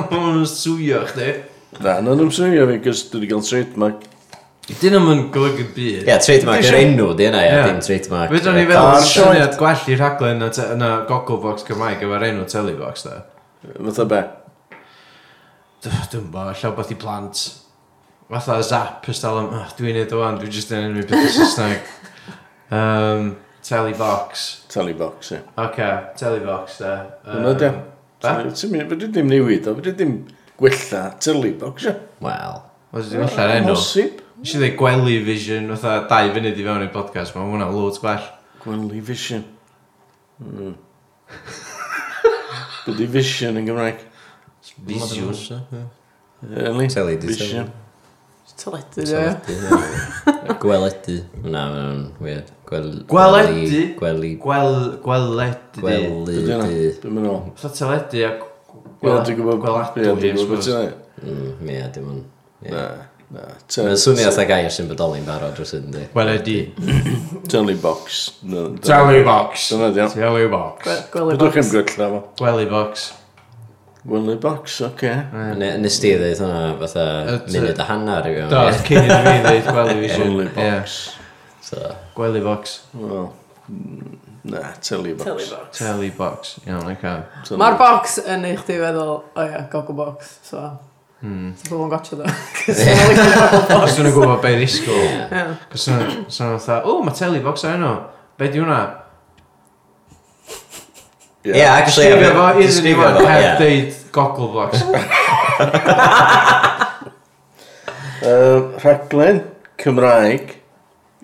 Speaker 4: Mae nhw'n swio chdi.
Speaker 3: Na, na nhw'n swnio fi, cos dwi wedi cael trademark.
Speaker 4: Dyn nhw'n golygu byd.
Speaker 2: Ie, trademark yr enw di yna, ie,
Speaker 4: Ie.
Speaker 2: dim trademark.
Speaker 4: Fydwn ni
Speaker 2: yy,
Speaker 4: fel
Speaker 3: Ar
Speaker 4: syniad gwell i'r rhaglen na, te- na Gogglebox Cymraeg efo'r enw Telebox da.
Speaker 3: Fatha be?
Speaker 4: Dwi'n bo, llaw beth i plant. Fatha zap ystal am, oh, dwi'n neud o'n, dwi'n just yn enw beth i Saesneg. Um, telebox.
Speaker 3: Telly box, ie.
Speaker 4: Oce, okay, Telebox da. Um,
Speaker 3: Hwna di.
Speaker 4: Be?
Speaker 3: Ti'n mynd, fyddi dim newid o, fyddi dim gwella telly box, ie.
Speaker 2: Wel,
Speaker 4: Os dwi'n allan enw.
Speaker 3: Posib.
Speaker 4: Nes i ddweud gwely vision, fatha dau funud i fewn i'r podcast, mae hwnna'n loads gwell.
Speaker 3: Gwely vision. Mm. Byddi vision yn Gymraeg.
Speaker 4: Vision.
Speaker 3: Eli?
Speaker 2: Telly di
Speaker 3: Vision.
Speaker 1: Jyst Teledu, ie.
Speaker 2: teledu. ie. Gweledu. Na, mae'n weird. Gwel-
Speaker 4: Gweledu?
Speaker 2: Gweli.
Speaker 4: Gwel, gweled. Gwel.
Speaker 2: Gweli.
Speaker 3: Dyna,
Speaker 2: Gweli.
Speaker 3: dwi'n mynd ôl.
Speaker 4: Fatha teledu a...
Speaker 3: Ie, dwi'n gwybod
Speaker 4: gweladwy, I suppose.
Speaker 2: Mm, Ie, dim ond. ie.
Speaker 3: Na, na.
Speaker 2: Mae'n
Speaker 3: te-
Speaker 2: swnio eitha gair sy'n bodoli'n barod dros hyn, di.
Speaker 4: Gweledi.
Speaker 3: Telly box. No, dyna-
Speaker 4: Telly box.
Speaker 3: Dyna di o.
Speaker 4: Telly box.
Speaker 1: Gwe- Gwely
Speaker 3: Ydych chi'n
Speaker 1: box.
Speaker 3: gwella fo.
Speaker 4: Gwely box.
Speaker 3: Gwely box, oce.
Speaker 2: Ne- Nes ti ddeud hwnna fatha
Speaker 4: Y t-
Speaker 2: munud a hannar i
Speaker 4: Do,
Speaker 2: fewn. ie?
Speaker 4: cyn i fi ddeud gwely vision.
Speaker 3: Gwely
Speaker 4: Ie,
Speaker 3: box.
Speaker 2: So,
Speaker 4: Gwely box.
Speaker 3: Wel, mm, na, telly box.
Speaker 1: Telly box.
Speaker 4: Telly box. Iawn, o'i cael.
Speaker 3: Telly
Speaker 1: Mae'r
Speaker 3: box.
Speaker 1: box yn ei chdi feddwl, o ie, goggle box, so... Hmm. Ti'n bobl yn gotcha dda. Cos ma'n licio goggle
Speaker 4: Os dwi'n gwybod be risgo.
Speaker 1: box.
Speaker 4: Cos dwi'n fatha, o, mae telly box ar enw. Be di hwnna?
Speaker 3: Ie.
Speaker 2: Ie, actually,
Speaker 4: Sgrifio fo,
Speaker 2: I've-
Speaker 4: iddyn ni
Speaker 2: disgrifio
Speaker 4: fan,
Speaker 2: fo,
Speaker 4: heb
Speaker 2: ie.
Speaker 4: deud goggle box.
Speaker 3: Yym, Rhaglen Cymraeg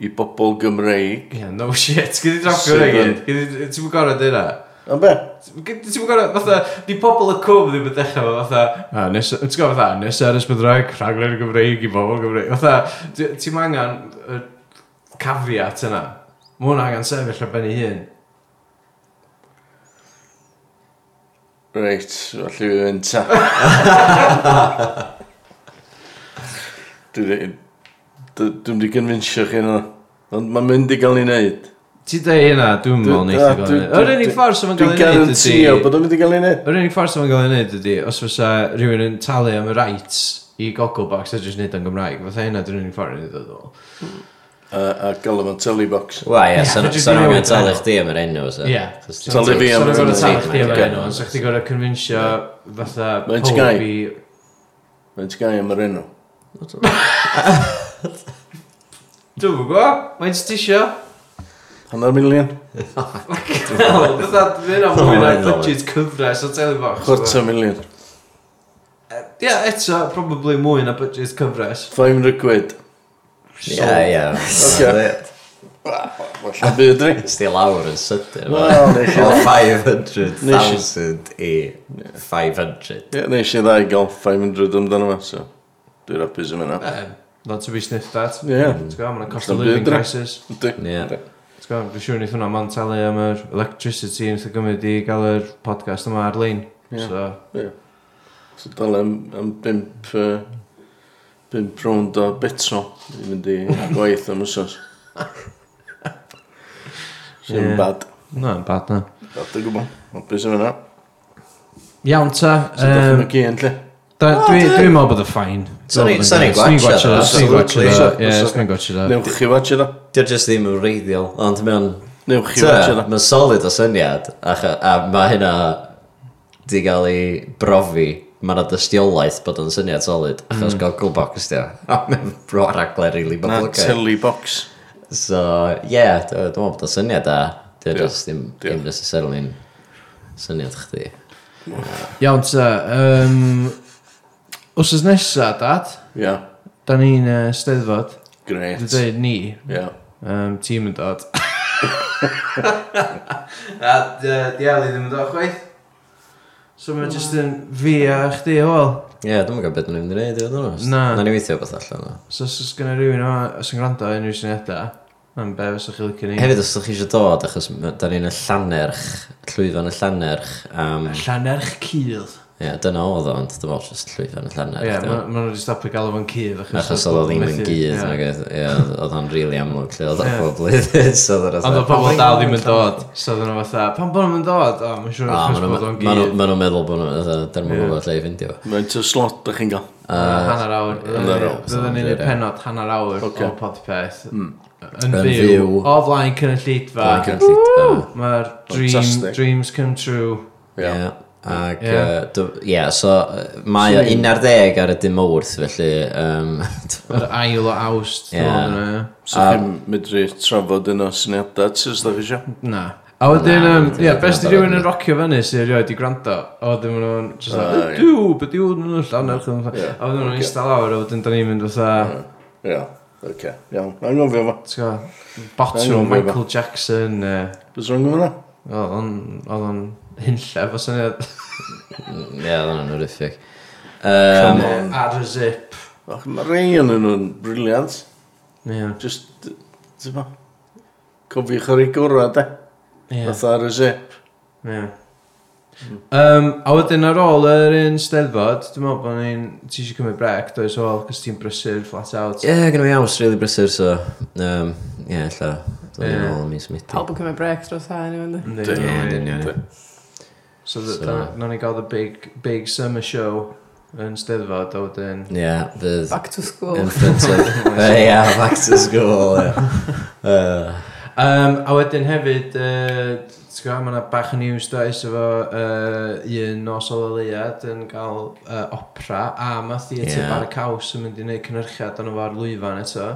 Speaker 3: i bobl Gymreig.
Speaker 4: Ie, no shit. Gyd i drafio hwnna gyd. Gei di- Ti'n mynd gorau dweud hwnna?
Speaker 3: A be?
Speaker 4: Ti'n mynd gorau, fatha, di pobl y cwm ddim yn dechrau fo, fatha, a nes, ti'n gwybod fatha, nes ar ysbydraeg, rhaglen Gymreig i bobl Gymreig, fatha, ti- ti'n ma angen y caveat yna. Mae hwnna angen sefyll ar ben ei hun.
Speaker 3: Reit, felly fi fynd ta. Dwi di- d- Dwi'm di gynfinsio chi yna. Ond mae'n mynd i gael ei wneud.
Speaker 4: Ti dweud hynna, dwi'n meddwl
Speaker 3: Dwi-
Speaker 4: neith
Speaker 3: a,
Speaker 4: i gael
Speaker 3: dwi-
Speaker 4: ei wneud.
Speaker 3: dwi-
Speaker 4: Yr unig
Speaker 3: dwi-
Speaker 4: ffordd sy'n gael
Speaker 3: Dwi'n
Speaker 4: ei wneud
Speaker 3: garantio
Speaker 4: ydy...
Speaker 3: bod o'n mynd i gael ei wneud.
Speaker 4: Yr unig ffordd sy'n gael ei wneud ydy, os fysa rhywun yn talu am y rights i Gogglebox a jyst wneud o'n Gymraeg, fatha hynna dwi'n unig ffordd yn ei ddod o.
Speaker 3: a gael o'n telebox.
Speaker 2: Wa, ie,
Speaker 4: Ie, dwi-
Speaker 2: so
Speaker 4: dwi
Speaker 2: nhw'n mynd
Speaker 4: newydd
Speaker 2: talu
Speaker 4: meddwl.
Speaker 2: chdi am yr enw, so.
Speaker 4: Ie.
Speaker 2: Cos
Speaker 3: So
Speaker 2: ti'n-
Speaker 3: Olivia
Speaker 4: So
Speaker 3: am
Speaker 4: nhw'n
Speaker 3: yr
Speaker 2: Ocê.
Speaker 4: gorau talu chdi am yr enw, so chdi gorau convincio fatha
Speaker 3: Mae'n
Speaker 4: pob
Speaker 3: Sky.
Speaker 4: i...
Speaker 3: Mae'n ti gael am yr enw.
Speaker 4: Dwi'n gwybod, mae'n stisio.
Speaker 3: Hanner milion?
Speaker 4: Wel, fatha, dwi'n am mwy na
Speaker 7: Mae'n dda,
Speaker 4: budget cyfres o telebox.
Speaker 3: Chwarta milion.
Speaker 4: Ie, eto, probably mwy na budget cyfres.
Speaker 3: 500 quid.
Speaker 2: Ie, ie.
Speaker 3: Ocê. Alla byd ri.
Speaker 2: Sti lawr yn sydyn.
Speaker 3: No,
Speaker 2: ma.
Speaker 3: nes i-
Speaker 2: O 500,000 i 500.
Speaker 3: Ie, nes i ddau gael 500 amdano fe, so dwi'n hapus am hynna.
Speaker 4: Eh, Not to be sniffed at.
Speaker 3: Ie.
Speaker 4: T'w gwbod, mae'n cost
Speaker 3: Sta
Speaker 4: of living
Speaker 3: byd, dre.
Speaker 4: crisis.
Speaker 3: Yndi.
Speaker 2: Ie.
Speaker 4: T'w gwbod, Dwi'n siŵr wneud hwnna, mae'n talu am yr electricity yn lle gymryd i gael yr podcast yma ar-lein.
Speaker 3: Ie.
Speaker 4: So,
Speaker 3: So dal am, am 5 uh, 5 rownd o betro i mynd i gwaith am ysos. Sy'n
Speaker 4: Ie.
Speaker 3: bad.
Speaker 4: na, yn bad na.
Speaker 3: Bad o gwbl. Hapus am hynna.
Speaker 4: Iawn ta.
Speaker 3: Sy'n
Speaker 4: yym,
Speaker 3: dachyn o gyn, lle.
Speaker 4: Da- Dwi dwi'n meddwl bod y ffain.
Speaker 2: Swn i- swn i'n gwatsiad o,
Speaker 4: Swn i'n
Speaker 2: absolutely.
Speaker 4: gwachio da. Ie,
Speaker 3: Swn-
Speaker 4: swn i'n gwachio da.
Speaker 3: Newch chi watch yna.
Speaker 2: Dio'n just e ddim yn reiddiol, ond mae'n...
Speaker 3: Newch chi watch yna.
Speaker 2: Mae'n solid o syniad, acha- a mae hynna di gael ei brofi. Mae yna dystiolaeth bod o'n syniad solid, achos Gogglebox ydi o. A mae'n bro raglen rili
Speaker 3: Na,
Speaker 2: boblogaidd.
Speaker 3: telly box.
Speaker 2: So, ie, dwi- dwi'n meddwl bod o'n syniad da. Dio'n
Speaker 3: Ie,
Speaker 2: just ddim
Speaker 3: ie.
Speaker 2: ddim necessarily syniad chdi.
Speaker 4: Iawn ta. yym, Wsos nesa, dad,
Speaker 3: Ia,
Speaker 4: da ni'n yy, steddfod.
Speaker 3: gret.
Speaker 4: Dwi'n dweud ni,
Speaker 3: Ia.
Speaker 4: Um, tîm yn dod. a diali ddim yn dod chwaith. So mae'n just yn fi a chdi o wel.
Speaker 2: Ie, yeah, dwi'n meddwl beth nhw'n mynd i wneud, dwi'n meddwl.
Speaker 4: Na.
Speaker 2: Na ni weithio beth allan o.
Speaker 4: So os oes gen i rhywun o sy'n gwrando o unrhyw syniadau, am be fysa chi licio ni.
Speaker 2: Hefyd, os ydych chi eisiau dod, achos ma- da ni'n y llanerch, llwyfan y llanerch, am...
Speaker 4: Llanerch cydd.
Speaker 2: Ie, dyna oedd o, ond dwi'n meddwl jyst llwyfan y llanerch.
Speaker 4: Ie,
Speaker 2: dwi'n
Speaker 4: maen
Speaker 2: meddwl.
Speaker 4: nhw wedi stopio galw fo'n cydd.
Speaker 2: Achos oedd o ddim yn gyd, nag oedd, ie, oedd- oedd o'n rili amlwg lle oedd o pob blwyddyn, so oedd
Speaker 4: Ond o
Speaker 2: o'n
Speaker 4: pobl dal ddim yn dod. So oedden nhw fatha, pan bod nhw'n dod? O, mae'n siŵr achos bod o'n
Speaker 2: Ah, Ma'
Speaker 4: gyd.
Speaker 2: nhw'n meddwl bod nhw'n derma gwybod lle i fynd i fo.
Speaker 3: Mae'n ty slot da chi'n gael.
Speaker 4: Hanner awr.
Speaker 3: Hanner awr.
Speaker 4: Byddwn ni'n neud penod hanner awr
Speaker 3: Ocê.
Speaker 4: o podpeth. Yn
Speaker 2: Yn
Speaker 4: fyw.
Speaker 2: fyw.
Speaker 4: O flaen cynulleidfa.
Speaker 2: Blaen cynllid.
Speaker 4: Mae'r dream,
Speaker 3: Fantastic.
Speaker 4: dreams come true.
Speaker 3: Ia.
Speaker 2: Ie. Ac,
Speaker 4: Ie.
Speaker 2: yy, dw- ie, so, yy, mae o 11 ar y dim mwrth, felly, yym,
Speaker 4: Yr ail o awst.
Speaker 2: Ie.
Speaker 4: Yeah.
Speaker 3: So chi'n medru trafod yn o syniadau, ti os da chi eisiau?
Speaker 4: Na. A wedyn,
Speaker 2: Na,
Speaker 4: yym,
Speaker 2: dwi'n
Speaker 4: ie,
Speaker 2: meddwl
Speaker 4: best i
Speaker 2: bod
Speaker 4: rywun
Speaker 2: yn-
Speaker 4: yn rocio fyny sy'n erioed i gwrando. A wedyn maen nhw'n just
Speaker 3: Ah,
Speaker 4: like,
Speaker 3: ie.
Speaker 4: dw, beth yw nhw'n llanerch. A wedyn maen nhw'n
Speaker 3: Ocê.
Speaker 4: eista lawr, a wedyn da ni'n mynd fatha,
Speaker 3: Ia. Oce. Iawn. Na'n gofio fo.
Speaker 4: ti'n gwbod, botwm
Speaker 3: Angen fi
Speaker 4: Michael Jackson. yy,
Speaker 3: Bys rhan gofio na?
Speaker 4: Oedd o'n, oedd o'n hunllef o syniad.
Speaker 2: Ie, oedd hwnna'n horrific. Um,
Speaker 4: Ar y zip.
Speaker 3: Och, mae rei yn nhw'n briliant.
Speaker 4: Ie,
Speaker 3: Just, d- ti'n ma? Cofiwch ar ei gwrra, da.
Speaker 4: ie.
Speaker 3: Fatha ar y zip.
Speaker 4: Ie. Um, a wedyn ar ôl yr un steddfod, dwi'n meddwl bod ni'n... Ti eisiau cymryd brec, does o, cos ti'n brysur flat out.
Speaker 2: Ie, yeah, gyda mi aws rili really brysur, so... Um, ie, yeah, lla. Dwi'n
Speaker 4: Ie.
Speaker 2: yeah. ôl mis miti.
Speaker 1: Pawb yn cymryd breaks dros ha, ni fynd.
Speaker 4: Yndi,
Speaker 2: Ie,
Speaker 4: yndi.
Speaker 2: yn union.
Speaker 4: So, so. nawn ni gael the big, big summer show yn steddfod, a wedyn...
Speaker 2: Ie, fydd...
Speaker 1: Back to school.
Speaker 2: In front of... Ie, yeah, back to school, Uh, ie. Yeah.
Speaker 4: Um, a wedyn hefyd, uh, ti'n gwybod, mae yna bach yn news does efo uh, un nos o leiad yn cael uh, opera, a mae
Speaker 2: Ie.
Speaker 4: theatr yeah. bar y caws yn mynd i wneud cynhyrchiad ond fo'r lwyfan eto.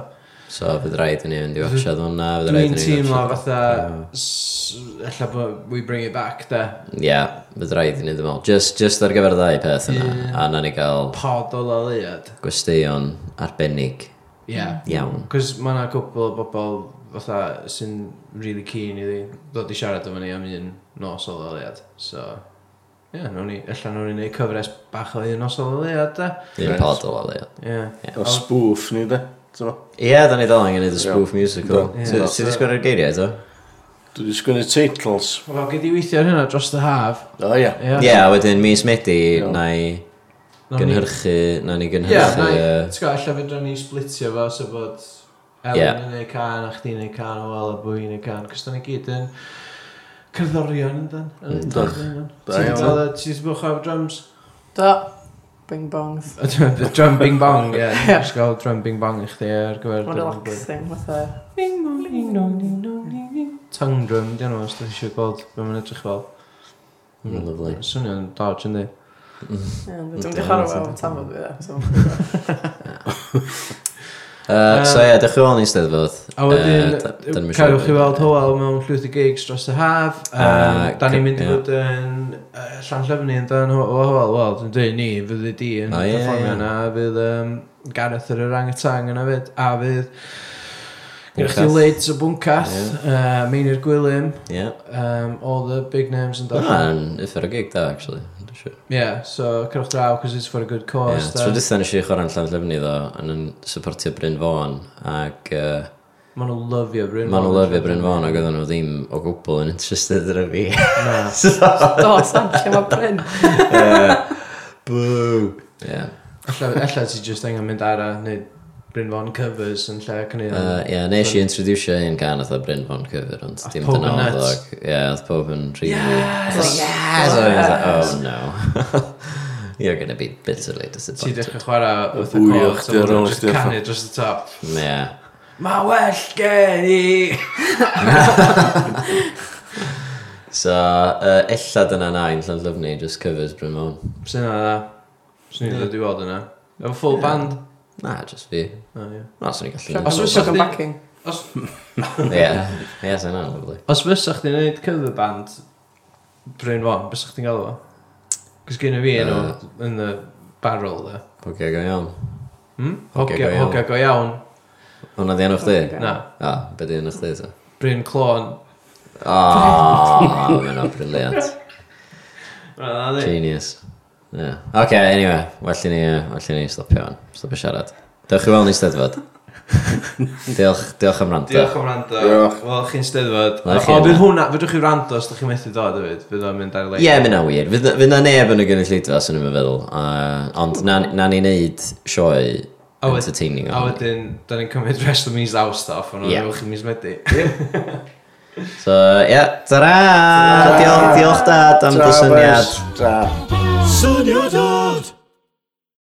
Speaker 2: So, fydd rhaid i ni fynd i watchad hwnna, fydd rhaid i
Speaker 4: Dwi'n
Speaker 2: ni
Speaker 4: teimlo
Speaker 2: watchad-
Speaker 4: fatha s- Ella bod we bring it back de
Speaker 2: Ie, yeah, fydd rhaid i ni ddim ond. Just, just ar gyfer y ddau peth yna.
Speaker 4: Ie.
Speaker 2: A na ni gael
Speaker 4: Pod o loliad
Speaker 2: gwesteion arbennig
Speaker 4: Ie
Speaker 2: iawn.
Speaker 4: Cos mae yna cwpl o bobl fatha sy'n really keen i fi ddod i siarad efo ni am un nos o loliad So Ie, yeah, nawn ni, ella nawn ni neud cyfres bach o un nos o loliad de
Speaker 2: Un
Speaker 3: Reit.
Speaker 2: pod o leo.
Speaker 4: Ie
Speaker 3: O spoof ni, da. Ti'n ma?
Speaker 2: Ie, yeah, da ni dal angen neud y spoof musical.
Speaker 4: Ie.
Speaker 2: Ti wedi sgwrdd ar geiriau, eto?
Speaker 3: Dwi wedi sgwini teitls.
Speaker 4: Wel, gyd i weithio ar hynna dros y haf
Speaker 3: O, ia.
Speaker 4: Ie,
Speaker 2: Ie, a wedyn mis Medi, na i
Speaker 4: nawn ni-
Speaker 2: gynhyrchu, na ni
Speaker 4: Ie, na
Speaker 2: gynhyrchu... uh,
Speaker 4: i,
Speaker 2: yy,
Speaker 4: ti'n gwybod, ella fydra ni splitio fo, so bod
Speaker 2: Ie.
Speaker 4: Ellen yn neud can, a chdi'n neud can, o wel, a bwy'n neud can, cos da ni gyd yn cerddorion yn dan.
Speaker 2: Yndych.
Speaker 3: Da iawn.
Speaker 4: Ti'n dod o drums?
Speaker 1: Da. bing bongs.
Speaker 4: Y Drum bing bong, ie.
Speaker 1: Ie.
Speaker 4: Just gael drum bing bong i chdi ar gyfer...
Speaker 1: Mae'n relaxing, fatha.
Speaker 4: Bing bong, ding dong, ding dong, ding ding. Tongue drum, di nhw, os da chi eisiau gweld be mae'n edrych fel.
Speaker 2: Mm, lovely.
Speaker 4: Swnio'n dodge, yndi.
Speaker 1: Ie, ond Dwi'n di chwarae fel tam o byd, so.
Speaker 2: Uh, so ie, dych chi'n ôl ni steddfod.
Speaker 4: A wedyn, carwch chi weld Howell mewn llwyth o gigs dros y haf.
Speaker 2: A,
Speaker 4: Yym, Da ni'n mynd i
Speaker 2: ie.
Speaker 4: fod yn yy, Llanllyfni yn dan Ho- o Howell. Wel, dwi'n dweud ni, fydd y di yn
Speaker 2: O, ie, ie.
Speaker 4: performio yna. Fydd yym, Gareth yr orangatang yna fyd. A fydd Gwch chi
Speaker 2: Bwncath.
Speaker 4: Lids o Bwncath, yy, Meinir Gwilym,
Speaker 2: Ie.
Speaker 4: um, all the big names yn dod.
Speaker 2: Mae'n uffar o gig da, actually. Dwi'n siŵr.
Speaker 4: Yeah, so cerwch draw, cos it's for a good
Speaker 2: Ie,
Speaker 4: cause.
Speaker 2: Tro
Speaker 4: de.
Speaker 2: dwytha nes i chwarae'n llawn llyfni ddo, yn yn supportio Bryn Fawn, ac uh,
Speaker 4: Ma' nhw'n lyfio Bryn
Speaker 2: maen nhw'n
Speaker 4: Mawr.
Speaker 2: lyfio Bryn Fawn, ac oedden nhw ddim o gwbl yn interested yn y fi.
Speaker 4: Na.
Speaker 1: Do, Sam, lle mae Bryn?
Speaker 2: Boo! Ie.
Speaker 4: Ella ella ti just angen mynd ar a neud Bryn Fawn covers yn lle cynnig.
Speaker 2: Uh, Ie, nes i introducio un gan oedd Bryn Fawn cyfr, ond dim
Speaker 4: powb yn
Speaker 2: dyna oedd o.
Speaker 4: nuts.
Speaker 2: ac- Ie, oedd pob yn rili... Yes! Yes! I was like, Oh no. You're gonna be bitterly
Speaker 4: Ti
Speaker 2: disappointed.
Speaker 4: dechrau chwarae wrth y
Speaker 3: Wwy,
Speaker 4: cwrs
Speaker 3: o'ch di ar ôl
Speaker 4: just
Speaker 3: chdi,
Speaker 4: canu dros y top.
Speaker 2: Ie.
Speaker 4: Ma well gen i!
Speaker 2: So, uh, ella dyna na un llan lyfni, just covers Bryn Fawn.
Speaker 4: Sy'n yna dda. Sy'n ni'n dod i weld yna. Efo full band.
Speaker 2: Na, just fi.
Speaker 4: O, ie.
Speaker 2: Na, swn i'n gallu...
Speaker 4: Os
Speaker 2: neud
Speaker 4: fysa
Speaker 1: Shock and
Speaker 4: chdi-
Speaker 1: backing.
Speaker 4: Os-
Speaker 2: o. Ie, ie, sy'n na, lovely.
Speaker 4: Os fysa chdi'n gwneud cover band Bryn Fawn, fysa chdi'n galw fo? Cos gen i fi enw yn y barrel dda.
Speaker 2: Pogia go iawn.
Speaker 4: Hmm?
Speaker 2: Hogia go
Speaker 4: Hogia
Speaker 2: iawn.
Speaker 4: hogia go iawn.
Speaker 2: Hwna di enw chdi?
Speaker 1: Hogia.
Speaker 4: Na.
Speaker 2: O, be di enw chdi ta?
Speaker 4: Bryn Clon.
Speaker 2: O, mae'n o briliant.
Speaker 4: Wel, na di.
Speaker 2: Genius. Yeah. Ok, anyway, well i ni, uh, well i ni stopio fan. Stopio siarad. Dewch i weld ni steddfod. diolch, diolch am rando.
Speaker 4: Diolch am rando.
Speaker 3: Diolch.
Speaker 4: Wel, chi'n steddfod.
Speaker 2: Na, chi
Speaker 4: O,
Speaker 2: yna.
Speaker 4: bydd hwnna, fydwch chi rando os da chi methu dod hefyd. Fydd o'n mynd ar lein.
Speaker 2: Ie, yeah, mynd na wir. Fydd fydd na neb yn y gynulleidfa, swn i'n meddwl. Uh, ond na, na ni wneud sioe
Speaker 4: A wed-
Speaker 2: entertaining
Speaker 4: A
Speaker 2: o'n.
Speaker 4: wedyn, da ni'n cymryd rest o mis awst off, ond
Speaker 2: Ie.
Speaker 4: yeah. ewch i mis medu.
Speaker 2: So, ie, yeah, ta-ra! Diolch, diolch dad am dy syniad.
Speaker 3: Ta.
Speaker 8: Syniadad!